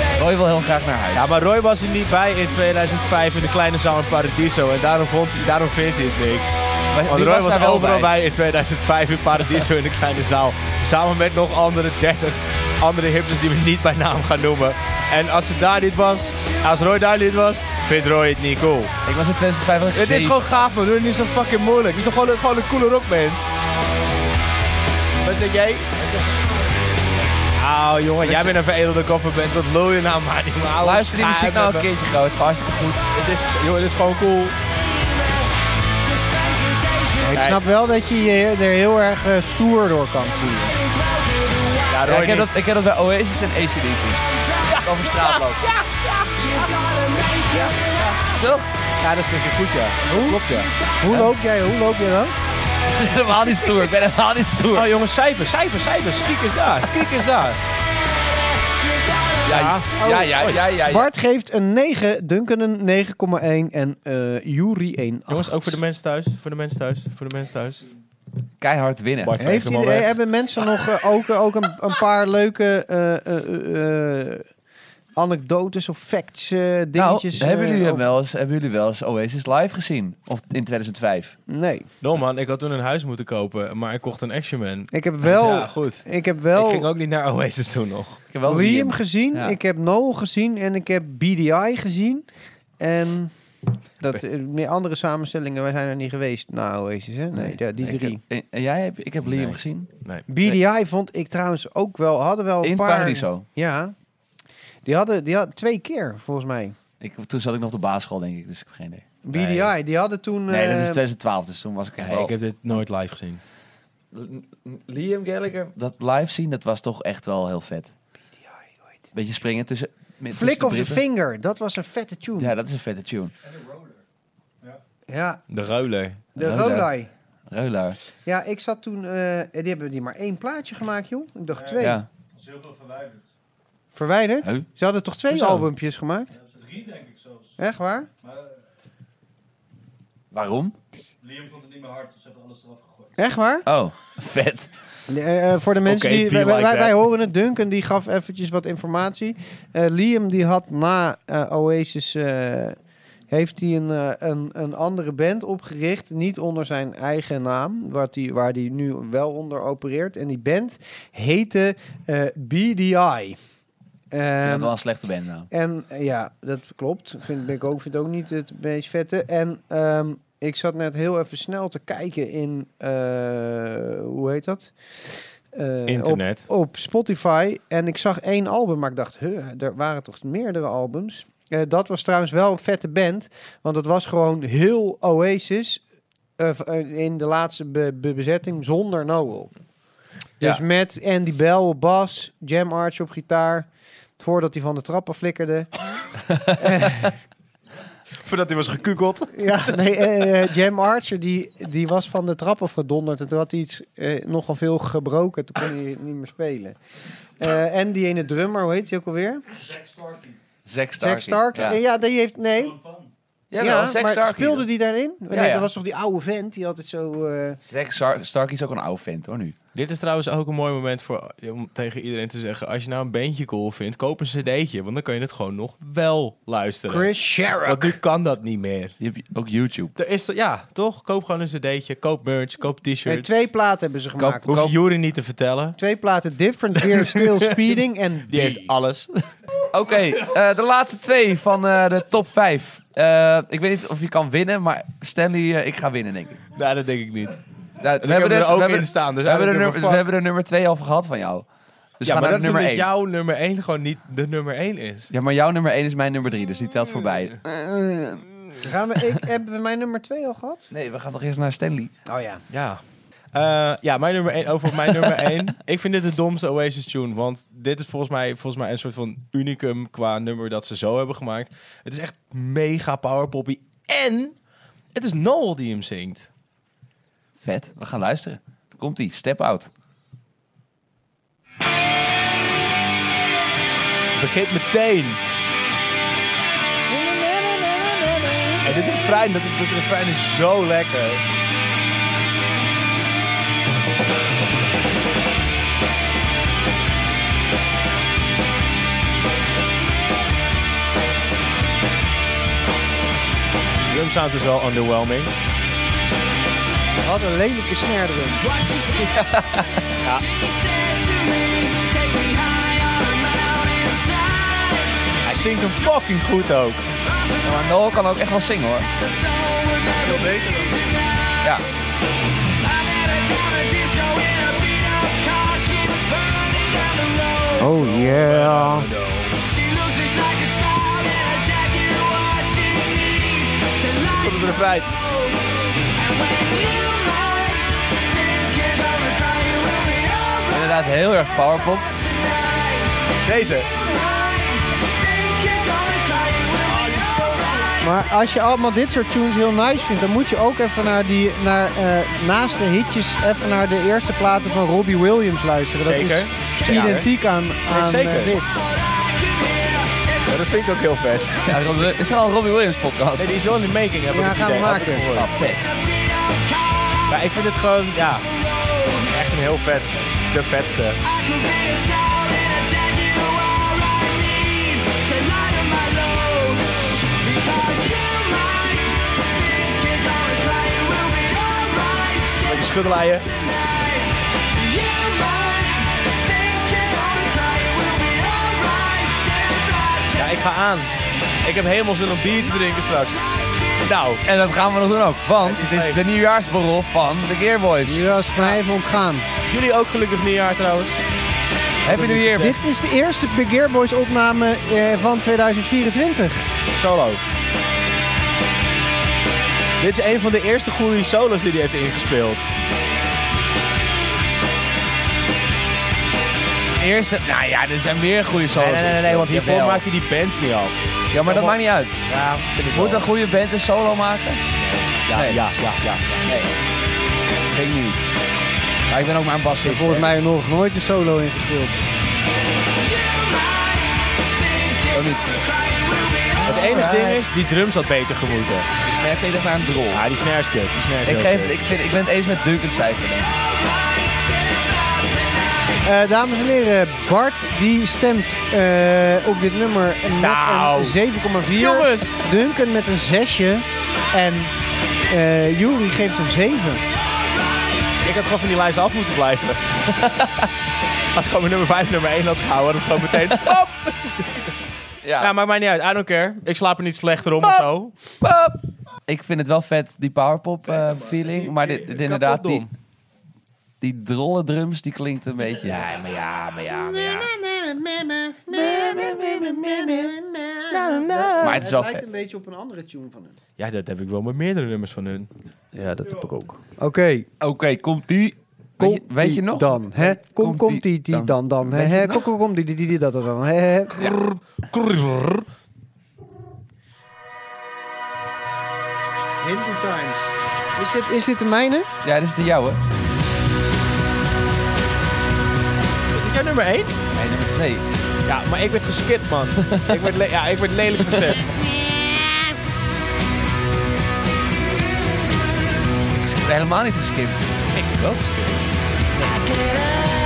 D: could
B: Roy wil heel graag naar huis.
E: Ja, maar Roy was er niet bij in 2005 in de kleine zaal in Paradiso. En daarom, vond, hij- daarom vindt hij het niks.
B: maar
E: Want
B: die
E: Roy was,
B: daar wel
E: overal bij. in 2005 in Paradiso in de kleine zaal. Samen met nog andere 30 andere hipsters die we niet bij naam gaan noemen. En als ze daar niet was, als Roy daar niet was, vindt Roy het niet cool.
B: Ik was in 2005 was ik
E: Het is
B: zeven.
E: gewoon gaaf man, doe het niet zo fucking moeilijk. Het is toch gewoon, gewoon een coole rockband. Wat zeg jij? Auw Nou, jongen, jij bent een veredelde kofferband. Wat lul je nou maar? Die oude
B: Luister die
E: schaap
B: muziek nou een
E: hebben.
B: keertje, gauw. Het is gewoon hartstikke goed.
E: Het is, jongen, het is gewoon cool.
A: Ik snap wel dat je je er heel erg eh, stoer door kan voelen.
E: Ja, Roy
B: Ja, ik, heb
E: niet.
B: dat, ik heb dat bij Oasis en ACDC. Over straat lopen.
E: Toch? Ja, dat zeg je goed, ja. Dat klopt, ja.
A: Hoe loop jij, hoe loop je dan?
B: Ik ben helemaal niet stoer. Ik ben helemaal niet stoer.
E: Oh, jongens, cijfers, cijfers, cijfers. Kiek is daar, kiek is daar.
B: Ja, ja, ja, ja, ja, ja.
A: Bart geeft een 9, Duncan een 9,1 en eh Jury een 8.
C: Jongens, ook voor de mensen thuis. Voor de mensen thuis. Voor de mensen thuis.
B: Keihard winnen.
E: Bart.
A: Heeft
E: Geef hem
A: hij-
E: al weg.
A: hebben mensen nog eh, ook, ook een, een paar leuke eh, eh, eh, anekdotes of facts, eh, dingetjes?
B: nou, hebben
A: eh,
B: jullie,
A: of-
B: wel eens, hebben jullie wel eens Oasis live gezien? Of in 2005?
A: Nee,
C: No man, ik had toen een huis moeten kopen, maar ik kocht een Action Man.
A: ik heb wel,
C: Ja, goed.
A: ik heb
C: Ik
A: wel,
C: ging ook niet naar Oasis toen nog.
B: Ik heb wel
A: Liam,
B: Liam.
A: gezien,
B: Ja.
A: ik heb Noel gezien en ik heb BDI gezien. En dat, eh, meer andere samenstellingen, wij zijn er niet geweest na Oasis, hè? Nee, ja, die
B: Ik
A: drie.
B: heb- en- en jij hebt, ik heb Liam
E: Nee.
B: gezien.
C: Nee.
A: BDI vond ik trouwens ook wel, hadden wel een
B: In
A: paar...
B: Paradiso.
A: Ja. Die hadden, die hadden twee keer, volgens mij.
B: Ik, toen zat ik nog op de basisschool, denk ik. Dus ik heb geen idee.
A: BDI,
C: Nee.
A: die hadden toen...
B: Nee, dat
A: eh,
B: is 2012, dus toen was ik echt
C: Nee,
B: wel...
C: ik heb dit nooit live gezien.
B: Liam Gallagher, dat live zien, dat was toch echt wel heel vet. Beetje springen tussen... met-
A: Flick
B: tussen
A: of
B: de
A: the
B: brieven.
A: Finger, dat was een vette tune.
B: Ja,
A: Ja,
B: dat is een vette tune.
C: De ruiler.
A: de
B: Roda.
A: Rodai.
B: Reulaar.
A: Ja, ik zat toen... eh, die hebben die maar één plaatje gemaakt, joh. Ik dacht twee.
B: Ja.
A: Verwijderd?
B: Huh?
A: Ze hadden toch twee
B: Hoezo?
A: albumpjes gemaakt? Drie, denk ik zelfs. Echt waar?
B: Waarom?
A: dus Echt waar?
B: Oh, vet.
A: Eh, eh, voor de mensen
E: Oké,
A: die...
E: be
A: Wij,
E: like
A: wij-
E: that.
A: wij horen het. Duncan die gaf eventjes wat informatie. Eh, Liam die had na eh, Oasis... eh, heeft hij een, eh, een, een andere band opgericht. Niet onder zijn eigen naam. Wat die, waar hij nu wel onder opereert. En die band heette eh, BDI.
B: Ik vind
A: Ehm,
B: dat wel een slechte band nou.
A: En eh, ja, dat klopt. Vind, ben ik ook, vind het ook niet het meest vette. En ehm, ik zat net heel even snel te kijken in, eh, hoe heet dat? Eh,
C: Internet.
A: Op, op Spotify. En ik zag één album, maar ik dacht, huh, er waren toch meerdere albums? Eh, dat was trouwens wel een vette band. Want het was gewoon heel Oasis eh, v- eh, in de laatste be- be- bezetting zonder Noel. Dus
B: Ja.
A: met Andy Bell op bas, Jam Arch op gitaar. Voordat hij van de trappen flikkerde.
E: Voordat hij was gekukeld.
A: Ja, nee, eh, eh, Jam Archer die, die was van de trap af gedonderd. En toen had hij iets, eh, nogal veel gebroken. Toen kon hij niet meer spelen. Eh, en die ene drummer, hoe heet hij ook alweer?
B: Zack Starkey.
A: Jack Stark.
B: Ja,
A: Ja. die heeft... Nee,
B: ja,
A: ja,
B: Zack
A: maar
B: Starkey.
A: speelde die daarin? nee,
B: ja.
A: dat was toch die oude vent die altijd zo... eh,
B: Zack Star- Starkey is ook een oude vent hoor nu.
C: Dit is trouwens ook een mooi moment voor, om tegen iedereen te zeggen... als je nou een bandje cool vindt, koop een cd'tje. Want dan kan je het gewoon nog wel luisteren.
A: Chris Sherrock.
C: Want nu kan dat niet meer.
B: Je hebt ook YouTube.
C: Er is, ja, toch? Koop gewoon een cd'tje, koop merch, koop t-shirts.
A: Nee, twee platen hebben ze gemaakt.
C: Hoef je Jury niet te vertellen.
A: Twee platen, Different Gear, Still Speeding en
C: Die heeft alles.
B: Oké, eh, de laatste twee van eh, de top vijf. Eh, ik weet niet of je kan winnen, maar Stanley, eh, ik ga winnen denk ik.
C: nou, dat denk ik niet.
B: Nou,
C: We hebben
B: net-
C: er ook
B: we hebben-
C: in staan. Dus
B: we, hebben er
C: eigenlijk
B: nummer,
C: een
B: we
C: fuck.
B: hebben er nummer twee al van gehad van jou. Dus
C: ja,
B: ga
C: maar
B: naar
C: dat is
B: nummer
C: omdat
B: één.
C: jouw nummer 1 gewoon niet de nummer 1 is.
B: Ja, maar jouw nummer 1 is mijn nummer 3, dus die telt voorbij.
A: Gaan we, ik, hebben we mijn nummer twee al gehad?
B: Nee, we gaan toch eerst naar Stanley.
A: Oh ja.
C: Ja. Eh, ja, mijn nummer 1, over op mijn nummer 1. Ik vind dit de domste Oasis tune, want dit is volgens mij, volgens mij een soort van unicum qua nummer dat ze zo hebben gemaakt. Het is echt mega powerpoppy en het is Noel die hem zingt.
B: Vet, we gaan luisteren. Komt ie, step out.
C: Het begint meteen. En dit refrein, dat, dat refrein is zo lekker.
E: drumsound is wel underwhelming.
A: Wat een lelijke snare erin.
E: Hij zingt hem fucking goed ook.
B: Maar Noel kan ook echt wel zingen hoor. Ja.
A: Oh yeah.
C: Tot het refrein.
B: Inderdaad heel erg powerpop.
C: Deze.
A: Maar als je allemaal dit soort tunes heel nice vindt, dan moet je ook even naar die, naar, eh, naast de hitjes, even naar de eerste platen van Robbie Williams luisteren.
C: Zeker.
A: Dat is identiek aan, aan
C: zeker.
A: eh, dit.
C: Ja, dat vind ik ook heel vet.
B: Ja, Rob- het is wel een Robbie Williams podcast.
E: Nee, die is wel in de making, heb ik
A: Ja,
E: het
A: gaan we
E: idee. Had ik
A: maken.
E: gehoord.
B: Ah, vet.
E: Maar ik vind het gewoon, ja,
C: Echt een heel vet. De vetste. Beetje schuddelaaien.
E: ja, ik ga aan. Ik heb helemaal zin om bier te drinken straks. Nou,
B: En dat gaan we nog doen ook, want het is de nieuwjaarsborrel van de Gearboys.
A: Die was mij even ontgaan.
E: jullie ook gelukkig nieuwjaar trouwens.
B: Happy New Year.
A: Dit is de eerste Big Air Boys opname eh, van 2024.
E: Solo. Dit is een van de eerste goede solos die hij heeft ingespeeld.
B: Eerste, nou ja, er zijn meer goede solos.
E: Nee, nee, nee, nee, want hiervoor
B: Jawel.
E: maakt hij die bands niet af.
B: Ja, maar dat maakt niet uit.
E: Ja, vind ik
B: Moet
E: wel.
B: een goede band een solo maken?
E: Ja,
B: Nee.
E: ja, ja, ja.
B: Nee. Ging niet. Maar ik ben ook maar een bassist.
A: Volgens
B: hè.
A: mij nog nooit een solo ingespeeld.
B: Ook niet.
E: Het enige ding is, die drums had beter gemoeten.
B: De snare klinkt echt naar een drol.
E: Ja, die snares kut, die snares
B: Ik,
E: heel
B: geef,
E: kut.
B: ik, vind, ik ben het eens met Duncan Cijfer. denk ik.
A: Eh, dames en heren, Bart die stemt eh, op dit nummer met
E: Nou.
A: een 7,4. Duncan met een 6'je. En eh Jury geeft een 7.
E: Ik had gewoon van die lijst af moeten blijven. Als ik gewoon mijn nummer 5 nummer 1 had gehouden, had ik gewoon meteen... Hop!
B: Ja.
E: Ja, maakt mij niet uit. I don't care. Ik slaap er niet slechter om of zo.
B: Pap! Ik vind het wel vet, die powerpop eh, feeling. Maar dit, dit inderdaad, die, die drolle drums, die klinkt een beetje... Ja, maar ja, maar ja, maar ja. Maar het is wel vet.
A: beetje op een andere tune van hem.
E: Ja, dat heb ik wel met meerdere nummers van hun.
B: Ja, dat heb ik ook.
A: Oké,
B: Oké, komt die. Weet je, weet je nog?
A: Dan, hè? Kom,
B: Komt
A: kom,
B: die
A: die, die,
B: dan?
A: dan, dan. hè,
B: Weet je
A: hè?
B: nog?
A: Kom, kom, kom, die, die, die, die, dat, dat, dan. hè, hè. Hindu Times. Is dit, is dit de mijne?
B: Ja, dit is de jouwe.
E: Is dit jouw nummer 1?
B: Nee, nummer twee.
E: Ja, maar ik werd geskipt, man. ik werd le- ja, ik werd lelijk gezet.
B: Ik heb helemaal niet geskipt.
E: ik heb wel geskipt.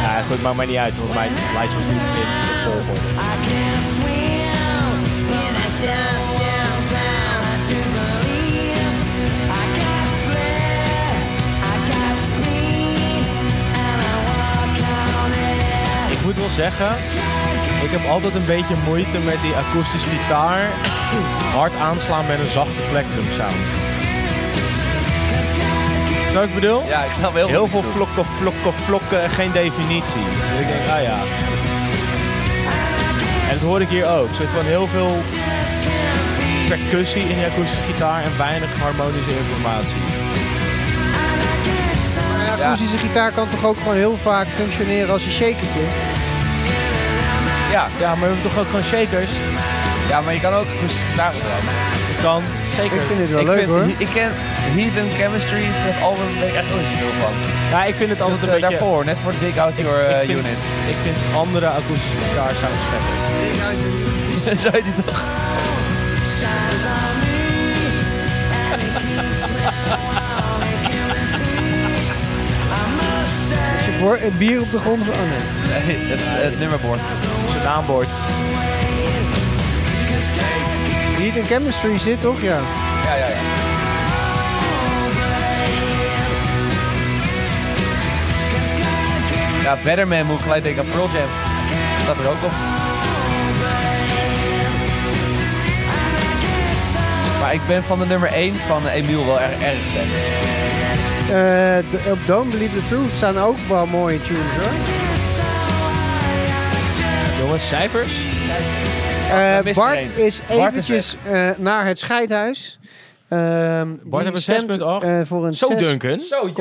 E: Ja, goed, maakt mij niet uit, want mijn lijst was niet in de volgorde. Ah, Ik moet wel zeggen, ik heb altijd een beetje moeite met die akoestische gitaar hard aanslaan met een zachte plectrum sound. Zo ik bedoel?
B: Ja, ik snap heel,
E: Heel
B: goed
E: veel
B: wat je bedoelt.
E: vlokken, vlokken, vlokken en geen definitie. Dus ik denk, ah ja. En dat hoor ik hier ook. Zo van heel veel percussie in die akoestische gitaar en weinig harmonische informatie.
A: Ja, akoestische gitaar kan toch ook gewoon heel vaak functioneren als een shakertje?
B: Ja,
E: Ja, maar we hebben toch ook gewoon shakers?
B: ja, maar je kan ook akoestische gitaar gebruiken.
E: Dan zeker.
A: Ik vind het wel leuk
B: vind,
A: hoor.
B: Ik ken Heathen Chemistry, dat album, daar ben ik echt nooit zoveel van.
E: Ja, ik vind het altijd
B: Dat,
E: een
B: eh,
E: beetje...
B: Daarvoor, net voor Dig Out Your eh,
E: ik, vind,
B: Unit.
E: ik vind andere akoestische gitaar sounds vetter.
B: Zo heet die toch?
A: Als je voor- eh, bier op de grond van... Oh, nee.
B: Nee, dat is eh, het nummerbord.
E: Zijn naambord.
A: Heat and chemistry zit toch, ja.
B: Ja, ja, ja. Ja, Better Man moet ik gelijk denken aan Pearl Jam. Staat er ook op. Maar ik ben van de nummer 1 van Emiel wel erg erg fan.
A: Eh, de- op Don't Believe the Truth staan ook wel mooie tunes hoor.
C: Jongens, cijfers?
A: Eh,
B: mist er
A: Bart
B: één.
A: is
B: Bart is
A: eventjes eh, naar het scheidhuis. Ehm, die
E: heeft een
A: stemt,
E: 6,8.
A: eh, voor een
C: Zo,
A: 6,8.
C: Duncan.
B: Zo,
A: Duncan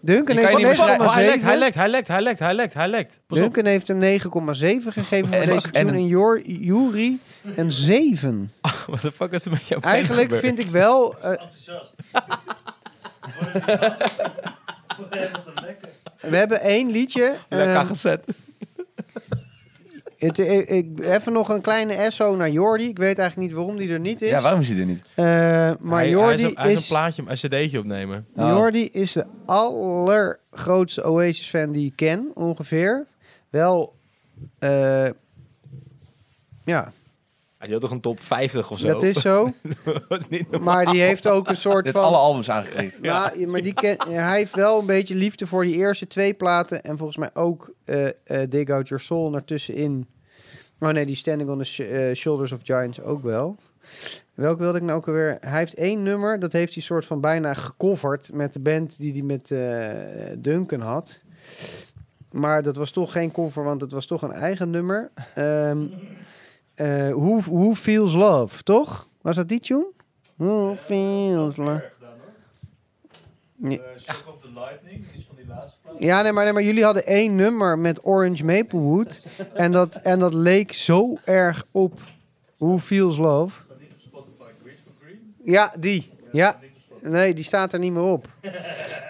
B: Die
A: heeft
B: kan je
A: een
B: niet beschrijven.
E: Oh, hij lekt, hij
A: 9,7.
E: lekt, hij lekt, hij lekt, hij lekt, hij lekt. Pas op.
A: Duncan heeft een 9,7 gegeven voor
B: En-
A: deze
B: en
A: tune.
B: een-
A: En Jor- Jury een 7.
E: What the fuck is er met jouw benen
A: Eigenlijk
E: gebeurd?
A: vind ik wel... eh, we hebben één liedje.
E: Lekker
A: ehm,
E: gezet.
A: het, eh, ik, even nog een kleine SO naar Jordi. Ik weet eigenlijk niet waarom die er niet is.
B: Ja, waarom is hij er niet?
A: Eh, maar
E: Hij-
A: Jordi
E: hij is, een- hij is
A: is
E: een plaatje, een cd'tje opnemen.
B: Oh.
A: Jordi is de allergrootste Oasis-fan die ik ken, ongeveer. Wel, eh, ja,
E: Hij had toch een top 50 of
A: dat is zo. maar die heeft ook een soort
B: Dit
A: van...
B: alle albums aangeklikt.
A: Ja, maar die ken, hij heeft wel een beetje liefde voor die eerste twee platen. En volgens mij ook eh eh, Dig Out Your Soul ertussenin. Oh nee, die Standing on the Sh- eh, Shoulders of Giants ook wel. Welk wilde ik nou ook alweer? Hij heeft één nummer, dat heeft hij soort van bijna gecoverd met de band die hij met eh, Duncan had. Maar dat was toch geen cover, want het was toch een eigen nummer. Ehm eh, who, who Feels Love, toch? Was dat die tune? Who Feels Love. Ja, nee maar, nee, maar jullie hadden één nummer met Orange Maplewood. en, dat, en dat leek zo erg op Who Feels Love. Ja, die. Ja. Nee, die staat er niet meer op.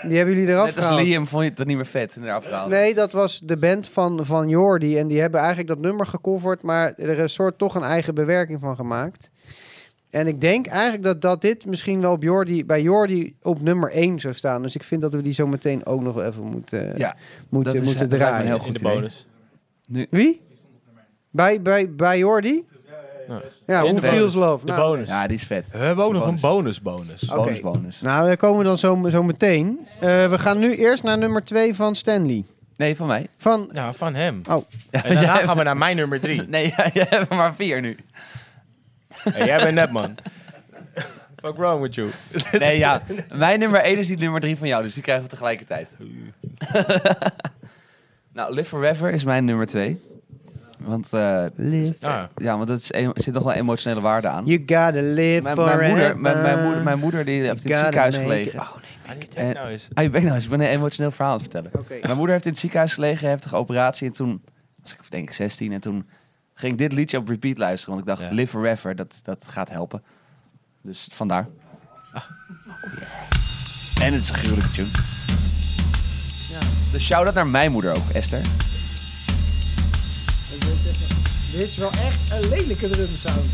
A: Die hebben jullie eraf
B: Net als
A: gehaald.
B: Liam vond je het niet meer vet en eraf gehaald.
A: Nee, dat was de band van, van Jordi. En die hebben eigenlijk dat nummer gecoverd. Maar er is soort toch een eigen bewerking van gemaakt. En ik denk eigenlijk dat, dat dit misschien wel op Jordi, bij Jordi op nummer 1 zou staan. Dus ik vind dat we die zo meteen ook nog wel even moeten,
B: Ja,
A: moeten,
B: dat is-
A: moeten
B: dat lijkt me
A: draaien.
B: heel
E: In
B: goed
E: de
B: idee.
E: bonus.
A: Wie? Bij, bij, bij Jordi?
E: ja.
A: Ja,
E: In
A: Who
E: de
A: Feels Love.
E: De
A: Nou,
E: bonus.
B: Ja, die is vet.
E: We hebben ook nog een bonusbonus.
A: Oké.
B: Bonus, bonus.
A: nou, daar komen we dan zo, zo meteen. Eh, we gaan nu eerst naar nummer 2 van Stanley.
B: Nee, van mij.
A: Van,
E: Ja, van hem.
A: oh,
E: En daarna gaan we naar mijn nummer drie.
B: Nee, jij hebt er maar vier nu.
E: Hey, jij bent net, man. Fuck wrong with you.
B: Nee, ja. Mijn nummer 1 is die nummer 3 van jou, dus die krijgen we tegelijkertijd. nou, Live Forever is mijn nummer 2. Want, eh,
E: Ah,
B: ja, want dat is em- zit nog wel emotionele waarde aan.
A: you gotta live
B: Mijn,
A: forever.
B: mijn, moeder, mijn, mijn moeder, mijn moeder die heeft in het
A: gotta
B: ziekenhuis
A: make
B: gelegen.
A: it.
B: Oh, nee.
E: check nou eens.
B: Ah, je bent nou eens, ik ben een emotioneel verhaal aan het vertellen.
A: Oké.
B: Mijn moeder heeft in het ziekenhuis gelegen, heftige operatie. En toen was ik denk ik 16 en toen ging ik dit liedje op repeat luisteren. Want ik dacht,
E: Ja.
B: Live Forever, dat, dat gaat helpen. Dus vandaar. En het is een gruwelijke tune. Dus shout-out naar mijn moeder ook, Esther.
A: Dit is wel echt een lelijke drumsound.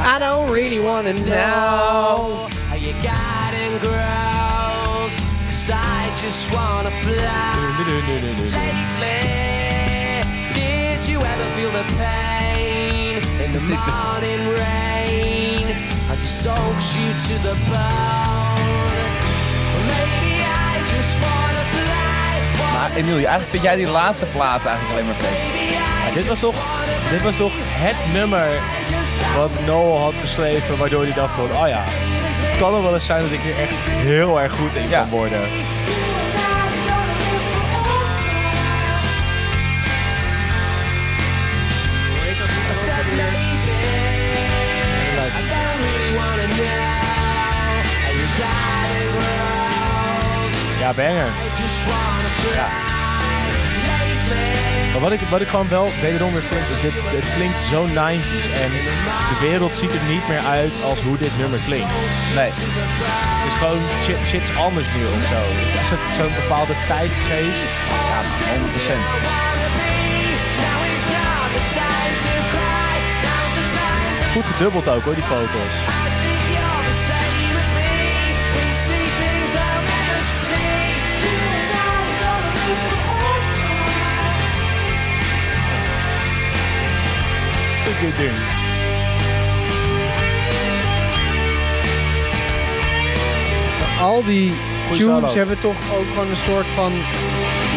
A: I don't really wanna know.
D: How you got and grows. Cause I just wanna fly. Lately, did you ever feel the pain in the morning rain as it soaks you to the bone? Maybe I just wanna fly.
B: Maar Emilie, eigenlijk vind jij die laatste plaat eigenlijk alleen maar vet.
E: Ja, dit, was toch, dit was toch het nummer wat Noel had geschreven, waardoor hij dacht van, oh ja, het kan er wel eens zijn dat ik hier echt heel erg goed in
B: Ja.
E: kan worden. Ja, banger. Maar wat ik, wat ik gewoon wel wederom weer vind, is dit, het klinkt zo 90s. En de wereld ziet er niet meer uit als hoe dit nummer klinkt.
B: Nee.
E: Het is gewoon shit, shit's anders nu of zo. Het is echt zo- zo'n bepaalde tijdsgeest.
B: Ja, 100%.
E: Goed gedubbeld ook hoor, die vocals. Goed dit ding.
A: Al die
E: goede
A: tunes
E: solo.
A: hebben toch ook gewoon een soort van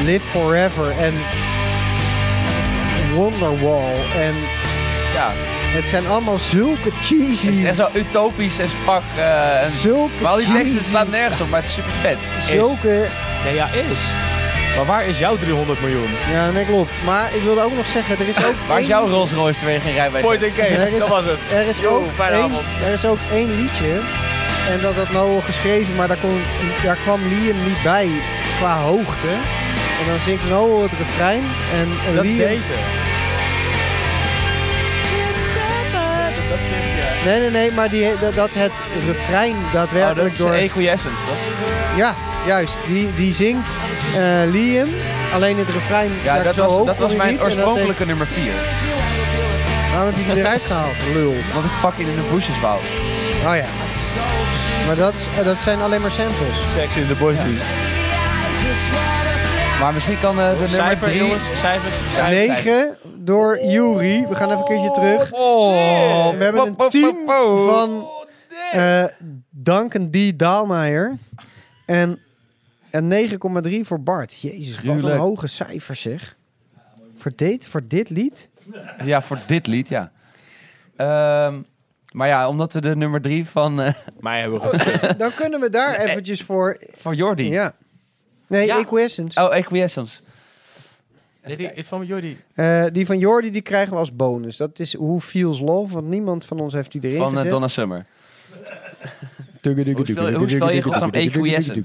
A: Live Forever en Wonderwall. En
B: Ja,
A: het zijn allemaal zulke cheesy...
B: het is echt zo utopisch as fuck. eh, en-
A: Zulke
B: maar al die teksten het
A: cheesy-
B: slaat nergens op, maar het is super vet.
A: Zulke...
E: Nee, ja, is.
C: Maar waar is jouw 300 miljoen?
A: Ja, nee, klopt. Maar ik wilde ook nog zeggen, er is ook
B: Waar is
A: één-
B: jouw Rolls Royce terwijl je geen rijbewijs
C: Point in
B: hebt?
A: Er
C: case,
A: is-
C: dat was het.
A: Er is,
C: Yo,
A: ook
C: fijne
A: één,
C: avond.
A: er is ook één liedje. En dat had Noel geschreven, maar daar, kon, daar kwam Liam niet bij qua hoogte. En dan zingt Noel het refrein. En en
E: Dat is
A: Liam...
E: deze.
A: Nee, nee, nee, maar die, dat, dat het refrein
B: Oh, dat
A: daadwerkelijk
B: is
A: door...
B: Equiescence, toch?
A: Ja, juist. Die, die zingt eh, Liam. Alleen het refrein...
B: Ja,
A: raakt
B: dat
A: zo
B: was,
A: hoog,
B: dat
A: kon
B: was
A: hij niet.
B: mijn
A: En dat
B: oorspronkelijke nummer 4.
A: heeft- Waarom heb je die eruit gehaald, lul?
B: Want ik fucking in de bushes wou.
A: Oh ja. Maar dat, is- eh, dat zijn alleen maar samples.
C: Sex in the Bushes.
B: Maar misschien kan eh, de nummer
E: Cijfer,
B: 3...
E: jongens. Cijfers.
B: Ja, cijfer.
A: 9 door Yuri. We gaan even een keertje terug.
B: Oh,
A: We hebben
B: po, po,
A: een team
B: po, po.
A: van eh Duncan D. Daalmeijer. En, en 9,3 voor Bart. Jezus, wat een
B: Gruwelijk.
A: hoge cijfer zeg. Voor dit, voor dit lied?
B: Ja, voor dit lied, ja. Ehm, maar ja, omdat we de nummer 3 van, eh,
E: Mij hebben we gezien.
A: Dan kunnen we daar eventjes voor...
B: van Jordi...
A: Ja. Nee,
E: Ja.
A: Equescence.
B: Oh, Equiescence.
E: Dit van Jordi.
A: Eh, die van Jordi die krijgen we als bonus. Dat is Who Feels Love, want niemand van ons heeft die erin
B: Van eh,
A: gezet.
B: Donna Summer. Hoe spel- hoe spel je in godsnaam E equiescence?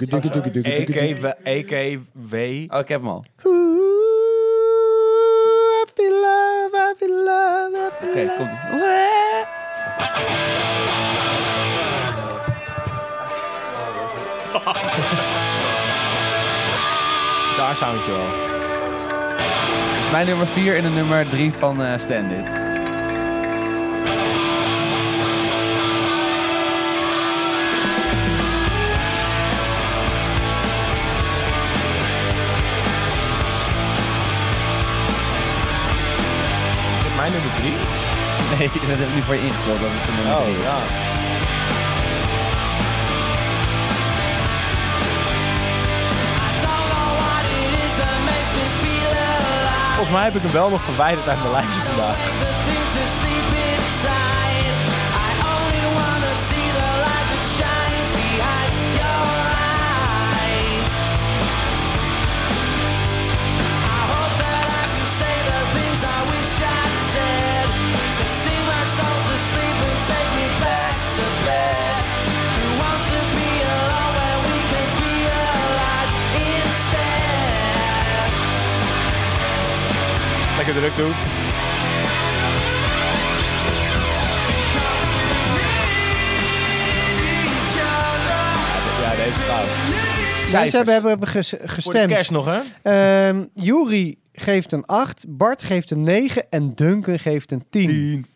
E: EKW. EKW.
B: Oh, ik heb hem al.
A: Ooh, I feel love, I feel love, I feel
B: Oké,
A: love.
B: komt ie.
E: Daar soundje wel.
B: Dat is mijn nummer 4 en de nummer 3 van eh Stan dit.
E: Is dat mijn nummer drie?
B: Nee, dat heb ik nu voor je ingevuld. Dat het een nummer drie is.
E: Oh, ja. Volgens mij heb ik hem wel nog verwijderd uit mijn lijstje vandaag.
D: Take me back to bed. Who wants to be alone when we can feel alive instead?
E: Lekker druk doen. Ja, deze gaat.
A: Mensen
B: Cijfers.
A: hebben, hebben ges-
E: Voor de
A: gestemd.
E: kerst nog, hè?
A: Ehm, Juri geeft een 8, Bart geeft een 9 en Duncan geeft een 10.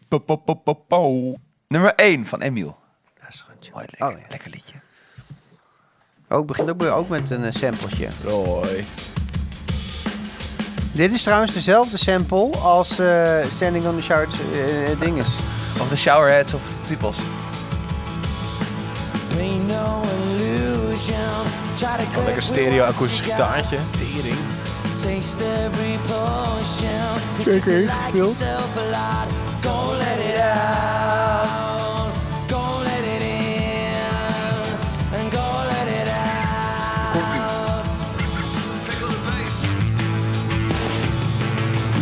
B: Nummer 1 van Emiel.
F: Ja, is goed, joh.
B: Mooi, lekker,
F: Oh, ja.
B: lekker liedje.
A: Oh,
F: Ook begint ook, ook met een eh, sampletje.
E: Roy.
A: Dit is trouwens dezelfde sample als eh, Standing on the Shouts eh, eh, ding is.
B: Of de Showerheads of Peoples.
E: Lekker stereo-akoestisch gitaartje.
D: Taste every potion.
A: Zeker
D: If you
A: is
D: like
A: gespeeld.
D: yourself a lot, go let it out. Go let it in. En go let it out.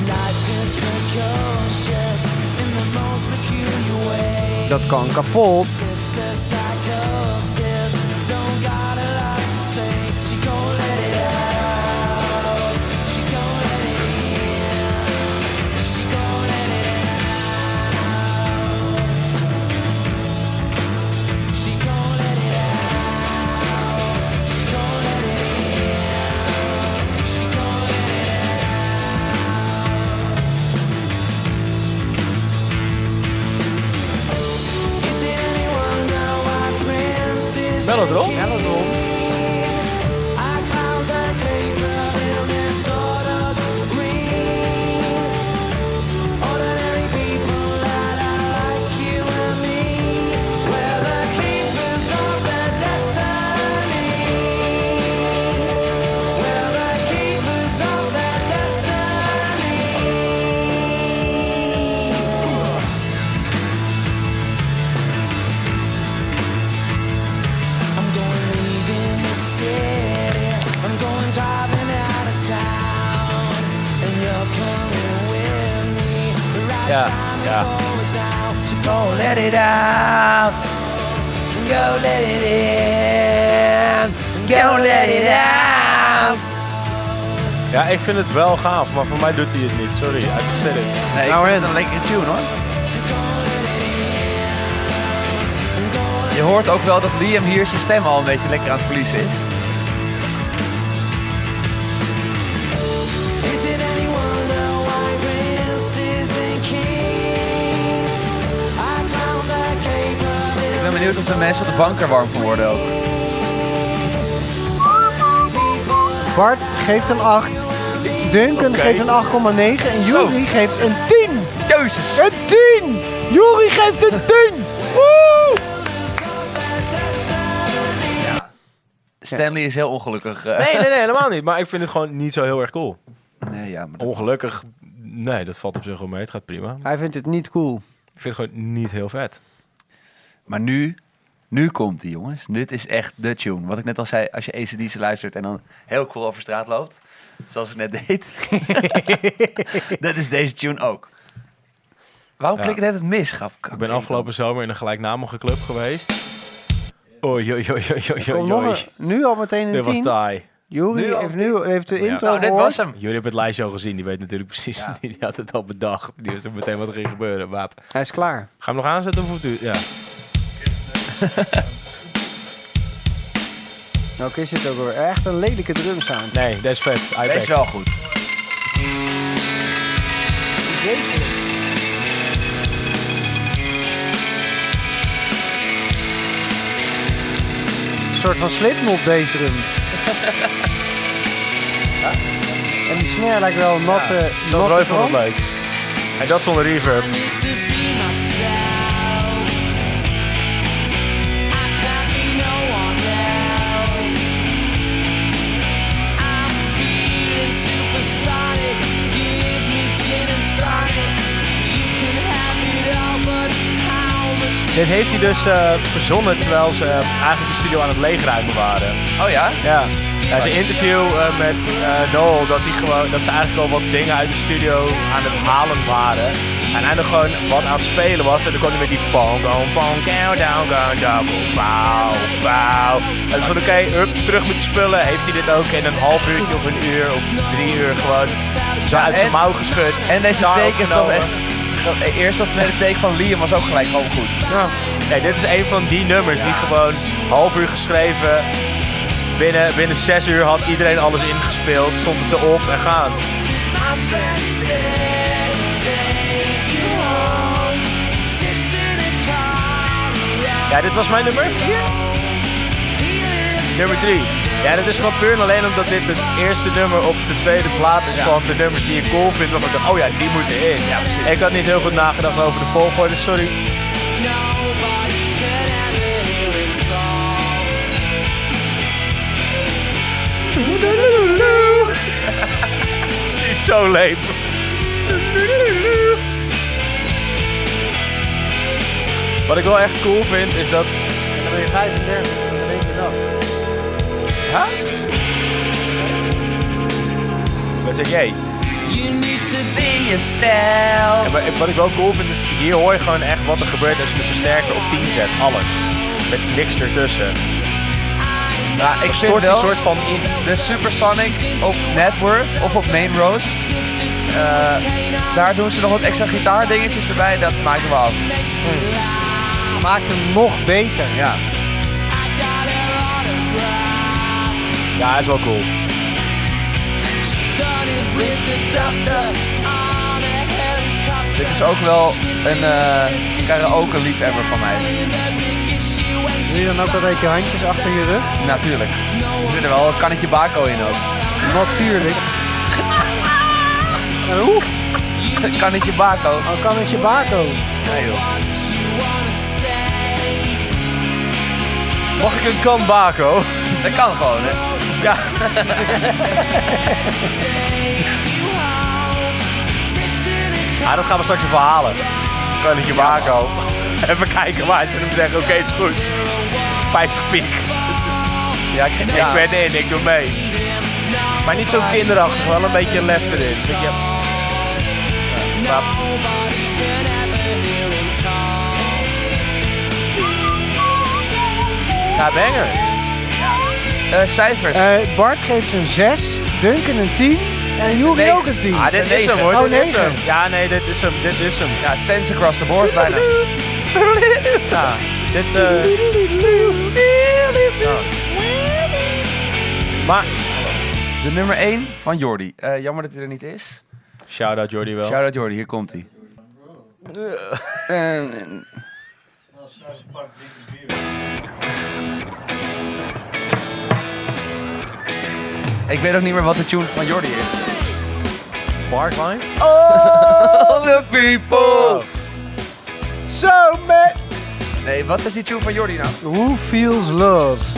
D: Life is precocious in the most peculiar way.
A: Dat kan kapot.
D: Sister psychosis, don't got a lot to say. She gon' let it out. She gon' let it in. She gon' let it out. She gon' let it out. She gon' let it in. She gon' let it out. Is it anyone now our princess?
E: Melodrom?
D: Our clouds and paper in disorders rings. Ordinary people that are like you and me. We're the keepers of their destiny.
E: Ja. ja.
D: Go let it out. Go let it in. Go let it out.
E: Ja, ik vind het wel gaaf, maar voor mij doet hij het niet. Sorry, uit de sterren.
B: Nee,
A: Nou,
B: ik vind
A: en?
B: het een lekkere tune hoor. Je hoort ook wel dat Liam hier zijn stem al een beetje lekker aan het verliezen is.
D: Is it any wonder why princes and kings are clowns that capable
B: Ik ben benieuwd of de mensen op de bank er warm van worden ook.
A: Bart geeft een 8. Duncan geeft een 8,9. En Juri geeft een 10.
B: Jezus!
A: Een 10! Juri geeft een 10! Woe!
B: Stanley is heel ongelukkig. eh.
E: Nee, nee, nee, helemaal niet. Maar ik vind het gewoon niet zo heel erg cool.
B: Nee, ja, maar dat-
E: Ongelukkig, nee, dat valt op zich wel mee. oh, Het gaat prima.
G: Hij vindt het niet cool.
E: Ik vind het gewoon niet heel vet.
B: Maar nu, nu komt die jongens. Dit is echt de tune. Wat ik net al zei, als je ACDC luistert en dan heel cool over straat loopt. Zoals ik net deed. dat is deze tune ook. Waarom
E: Ja.
B: klik ik net het mis, grap?
E: Ik ben afgelopen zomer in een gelijknamige club geweest. Oei, oei, oei, oei, oei,
A: Kom
E: oei,
A: nog
E: oei.
A: een- nu al meteen een
E: Dit was
A: 10.
E: taai.
A: Juri
B: Nu al
A: heeft, nu- heeft de
E: Ja.
A: intro
B: Oh, dit
A: gehoord.
B: was hem.
E: Jullie hebben het lijstje al gezien, die weet natuurlijk precies.
B: Ja.
E: Die had het al bedacht. Die wist ook meteen wat er ging gebeuren. Waap. Ga
G: Hij is klaar.
E: je hem nog aanzetten of doe Ja.
G: Nou, is het ook weer echt een lelijke drumsound.
E: Nee, dat is vet. Hij
B: Deze is wel goed.
A: Een soort van slipknot deze drum. En die snare lijkt wel een natte, natte
E: Roy vond het
A: krant.
E: leuk. En dat zonder reverb.
D: to be myself? I can't be no one else. I'm feeling supersonic. Give me gin and tonic. You can have it all, but how much
E: Dit heeft hij dus eh, verzonnen terwijl ze eh, eigenlijk de studio aan het leegruimen waren.
B: Oh ja?
E: Ja. ja zijn interview eh, met eh, Noel, dat, die gewoon, dat ze eigenlijk al wat dingen uit de studio aan het halen waren. En hij nog gewoon wat aan het spelen was. En dan kon hij met die pong, pong, pong, countdown, countdown, bow, bow. En dus van oké, hup, terug met die spullen. Heeft hij dit ook in een half uurtje of een uur of drie uur gewoon zo uit zijn
B: en-
E: mouw geschud.
B: En deze
E: daar
B: take is dan
E: opgenomen.
B: echt... De eerste of tweede take van Liam was ook gelijk gewoon goed.
E: Ja. Nee, dit is een van die nummers die gewoon half uur geschreven. Binnen, binnen zes uur had iedereen alles ingespeeld. Stond het erop en gaan.
D: my friend said, take you home. Sits in a car around
E: Ja, dit was mijn nummer.
D: here.
E: Nummer drie. Ja, dat is gewoon puur en alleen omdat dit het eerste nummer op de tweede plaat is van de nummers die ik cool vind. Waarvan ik dacht, oh ja, die moeten in. Ja, precies. Ik had niet heel goed nagedacht over de volgorde, sorry.
D: Nobody could ever hear it call.
E: Die is zo leem. Wat ik wel echt cool vind is dat. Dan ben je 35 en dan ben je Huh? Wat zeg jij?
B: Oh.
D: You need to be yourself.
E: Ja, maar ik- wat ik wel cool vind is, hier hoor je gewoon echt wat er gebeurt als je de versterker op 10 zet. Alles. Met niks ertussen.
B: Ja, ik vind
E: Stort een
B: wel...
E: soort van in.
B: De Supersonic op Network of op Main Road. eh, daar doen ze nog wat extra gitaardingetjes erbij. Dat maken we af.
A: Maakt hem nog beter.
B: Ja.
E: Ja, is wel cool.
D: Done it with the doctor on a helicopter.
B: Dit is ook wel een eh karaoke liefhebber van mij.
A: Doe je dan ook altijd je handjes achter je rug?
B: Natuurlijk. Er zit er wel een kannetje bako in ook.
A: Natuurlijk. En hoe?
B: Een kannetje bako.
A: Dan Oh, kan het je bako.
B: Nee joh.
D: What you wanna say?
E: Mag ik een kan bako?
B: Dat kan gewoon hè.
E: Ja.
D: Take you home. Sits in a
E: Ja, dat gaan we straks even halen. Kannetje Waco. Even kijken waar ze hem zeggen, oké, is goed. 50 piek.
B: Ja, ik,
E: Ik
B: ja.
E: ben in, ik doe mee. Maar niet zo kinderachtig, wel een beetje lef erin. Weet je,
D: No
F: rap.
D: Nobody can ever hear him call.
F: Ja, banger. Eh, cijfers.
A: Eh, Bart geeft een 6, Duncan een 10 en Joeri
F: Nee.
A: ook een 10.
F: Ah, dit is hem hoor.
A: Oh,
F: dit is
A: negen.
F: hem. Ja, nee, dit is hem. Dit is hem.
B: Ja, tens across the board bijna.
F: Ja, dit... eh, ja. Maar,
B: De nummer 1 van Jordi. Eh, jammer dat hij er niet is.
E: Shout-out Jordi wel.
B: Shout-out Jordi, hier komt hij. Ik weet ook niet meer wat de tune van Jordi is. Oh!
F: Barkline?
B: All the people!
A: Zo, man.
B: Oh. Nee, wat is die tune van Jordi nou?
A: Who feels love?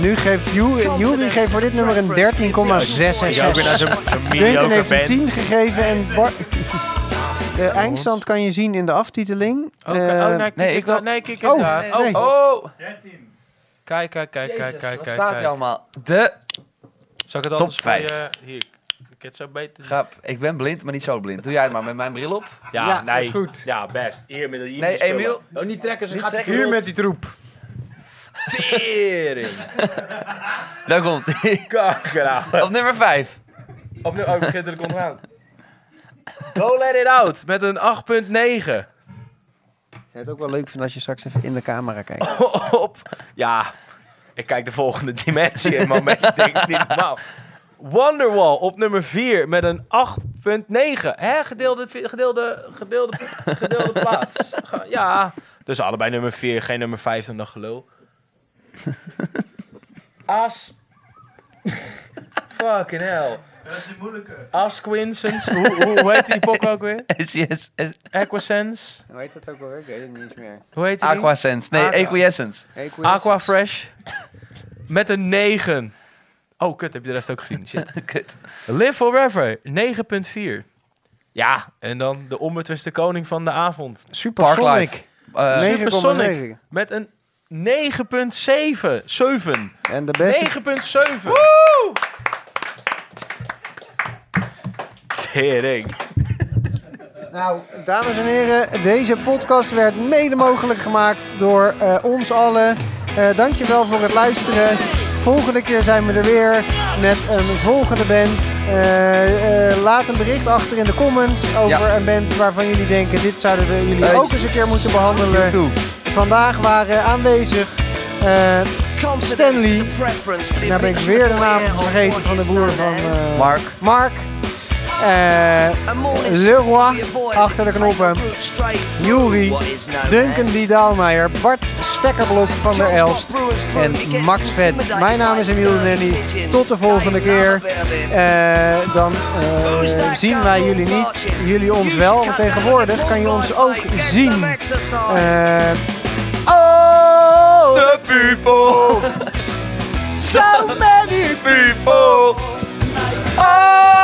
A: Nu geeft Ju- Jury geeft voor dit nummer een 13,66.
E: Ja, ik ben daar zo'n zo'n
A: Duncan
E: mediocre
A: heeft een
E: band.
A: 10 gegeven en Bart... De eindstand kan je zien in de aftiteling. Eh,
B: nee, ik wil-
F: Nee, kijk
A: oh,
F: het daar.
A: nee, nee.
B: Oh!
F: Kijk, kijk, kijk, kijk,
B: Jezus,
F: kijk.
B: wat
F: kijk,
B: staat
F: kijk.
B: hier allemaal? De
E: Zal ik het
B: top
E: anders voor
B: 5.
E: je- Hier, ik het zo beter...
B: Grap, ik ben blind, maar niet zo blind. Doe jij het maar met mijn bril op.
E: Ja,
A: Ja,
E: nee.
A: is goed.
E: Ja, best. Hier met hier
B: Nee,
E: met spullen.
B: Emiel.
E: Oh, niet trekken, ze gaat
A: Hier met die troep.
E: tering.
B: Daar komt hij.
E: Kakkerauw.
B: Op nummer 5.
E: Opnieuw, oh, ik begin er onderaan. Go Let It Out met een 8.9.
A: Ik zou het ook wel leuk vinden als je straks even in de camera kijkt.
E: Op. Ja, ik kijk de volgende dimensie in moment. Ik denk, het is niet normaal. Wonderwall op nummer 4 met een 8.9. Hè, gedeelde, gedeelde, gedeelde, gedeelde plaats. Ge- Ja, dus allebei nummer 4, geen nummer 5 dan dat gelul. As... Fucking hell. Dat is een moeilijke. Asquinsons. Hoe, hoe, hoe heet die pok ook weer?
B: Yes, yes, yes.
E: Aquasense.
A: Hoe heet dat ook alweer? Ik weet het niet meer.
E: Hoe heet die?
B: Aquasense. Nee,
E: Aqua.
B: Equiescence.
E: Aqua Fresh. Met een 9. Oh, kut, heb je de rest ook gezien? Shit.
B: Kut.
E: Live Forever, 9.4. Ja, en dan de onbetwiste koning van de avond.
A: Super
B: Parklife.
A: Sonic.
B: Eh,
E: Nee. Supersonic.
A: 9,9.
E: Met een 9.7. 7. 9.7.
A: En de beste
E: Tering.
A: Nou, dames en heren, deze podcast werd mede mogelijk gemaakt door eh, ons allen. Eh dankjewel voor het luisteren. Volgende keer zijn we er weer met een volgende band. Eh, eh, laat een bericht achter in de comments over een band waarvan jullie denken... dit zouden we jullie
B: Eh,
A: ook eens een keer moeten behandelen.
B: YouTube.
A: Vandaag waren aanwezig... eh, Stanley, nou ben ik weer de naam vergeten van de broer van eh,
B: Mark.
A: Mark. Eh, Leroy, achter de knoppen. Jury, Duncan D. Daalmeijer, Bart Stekkerblok van der Elst en Max Vet. Mijn naam is Emiel de Nenny. Tot de volgende keer. Eh, dan eh, zien wij jullie niet, jullie ons wel. Want tegenwoordig kan je ons ook zien. Eh, oh,
B: The people. So many people. Oh!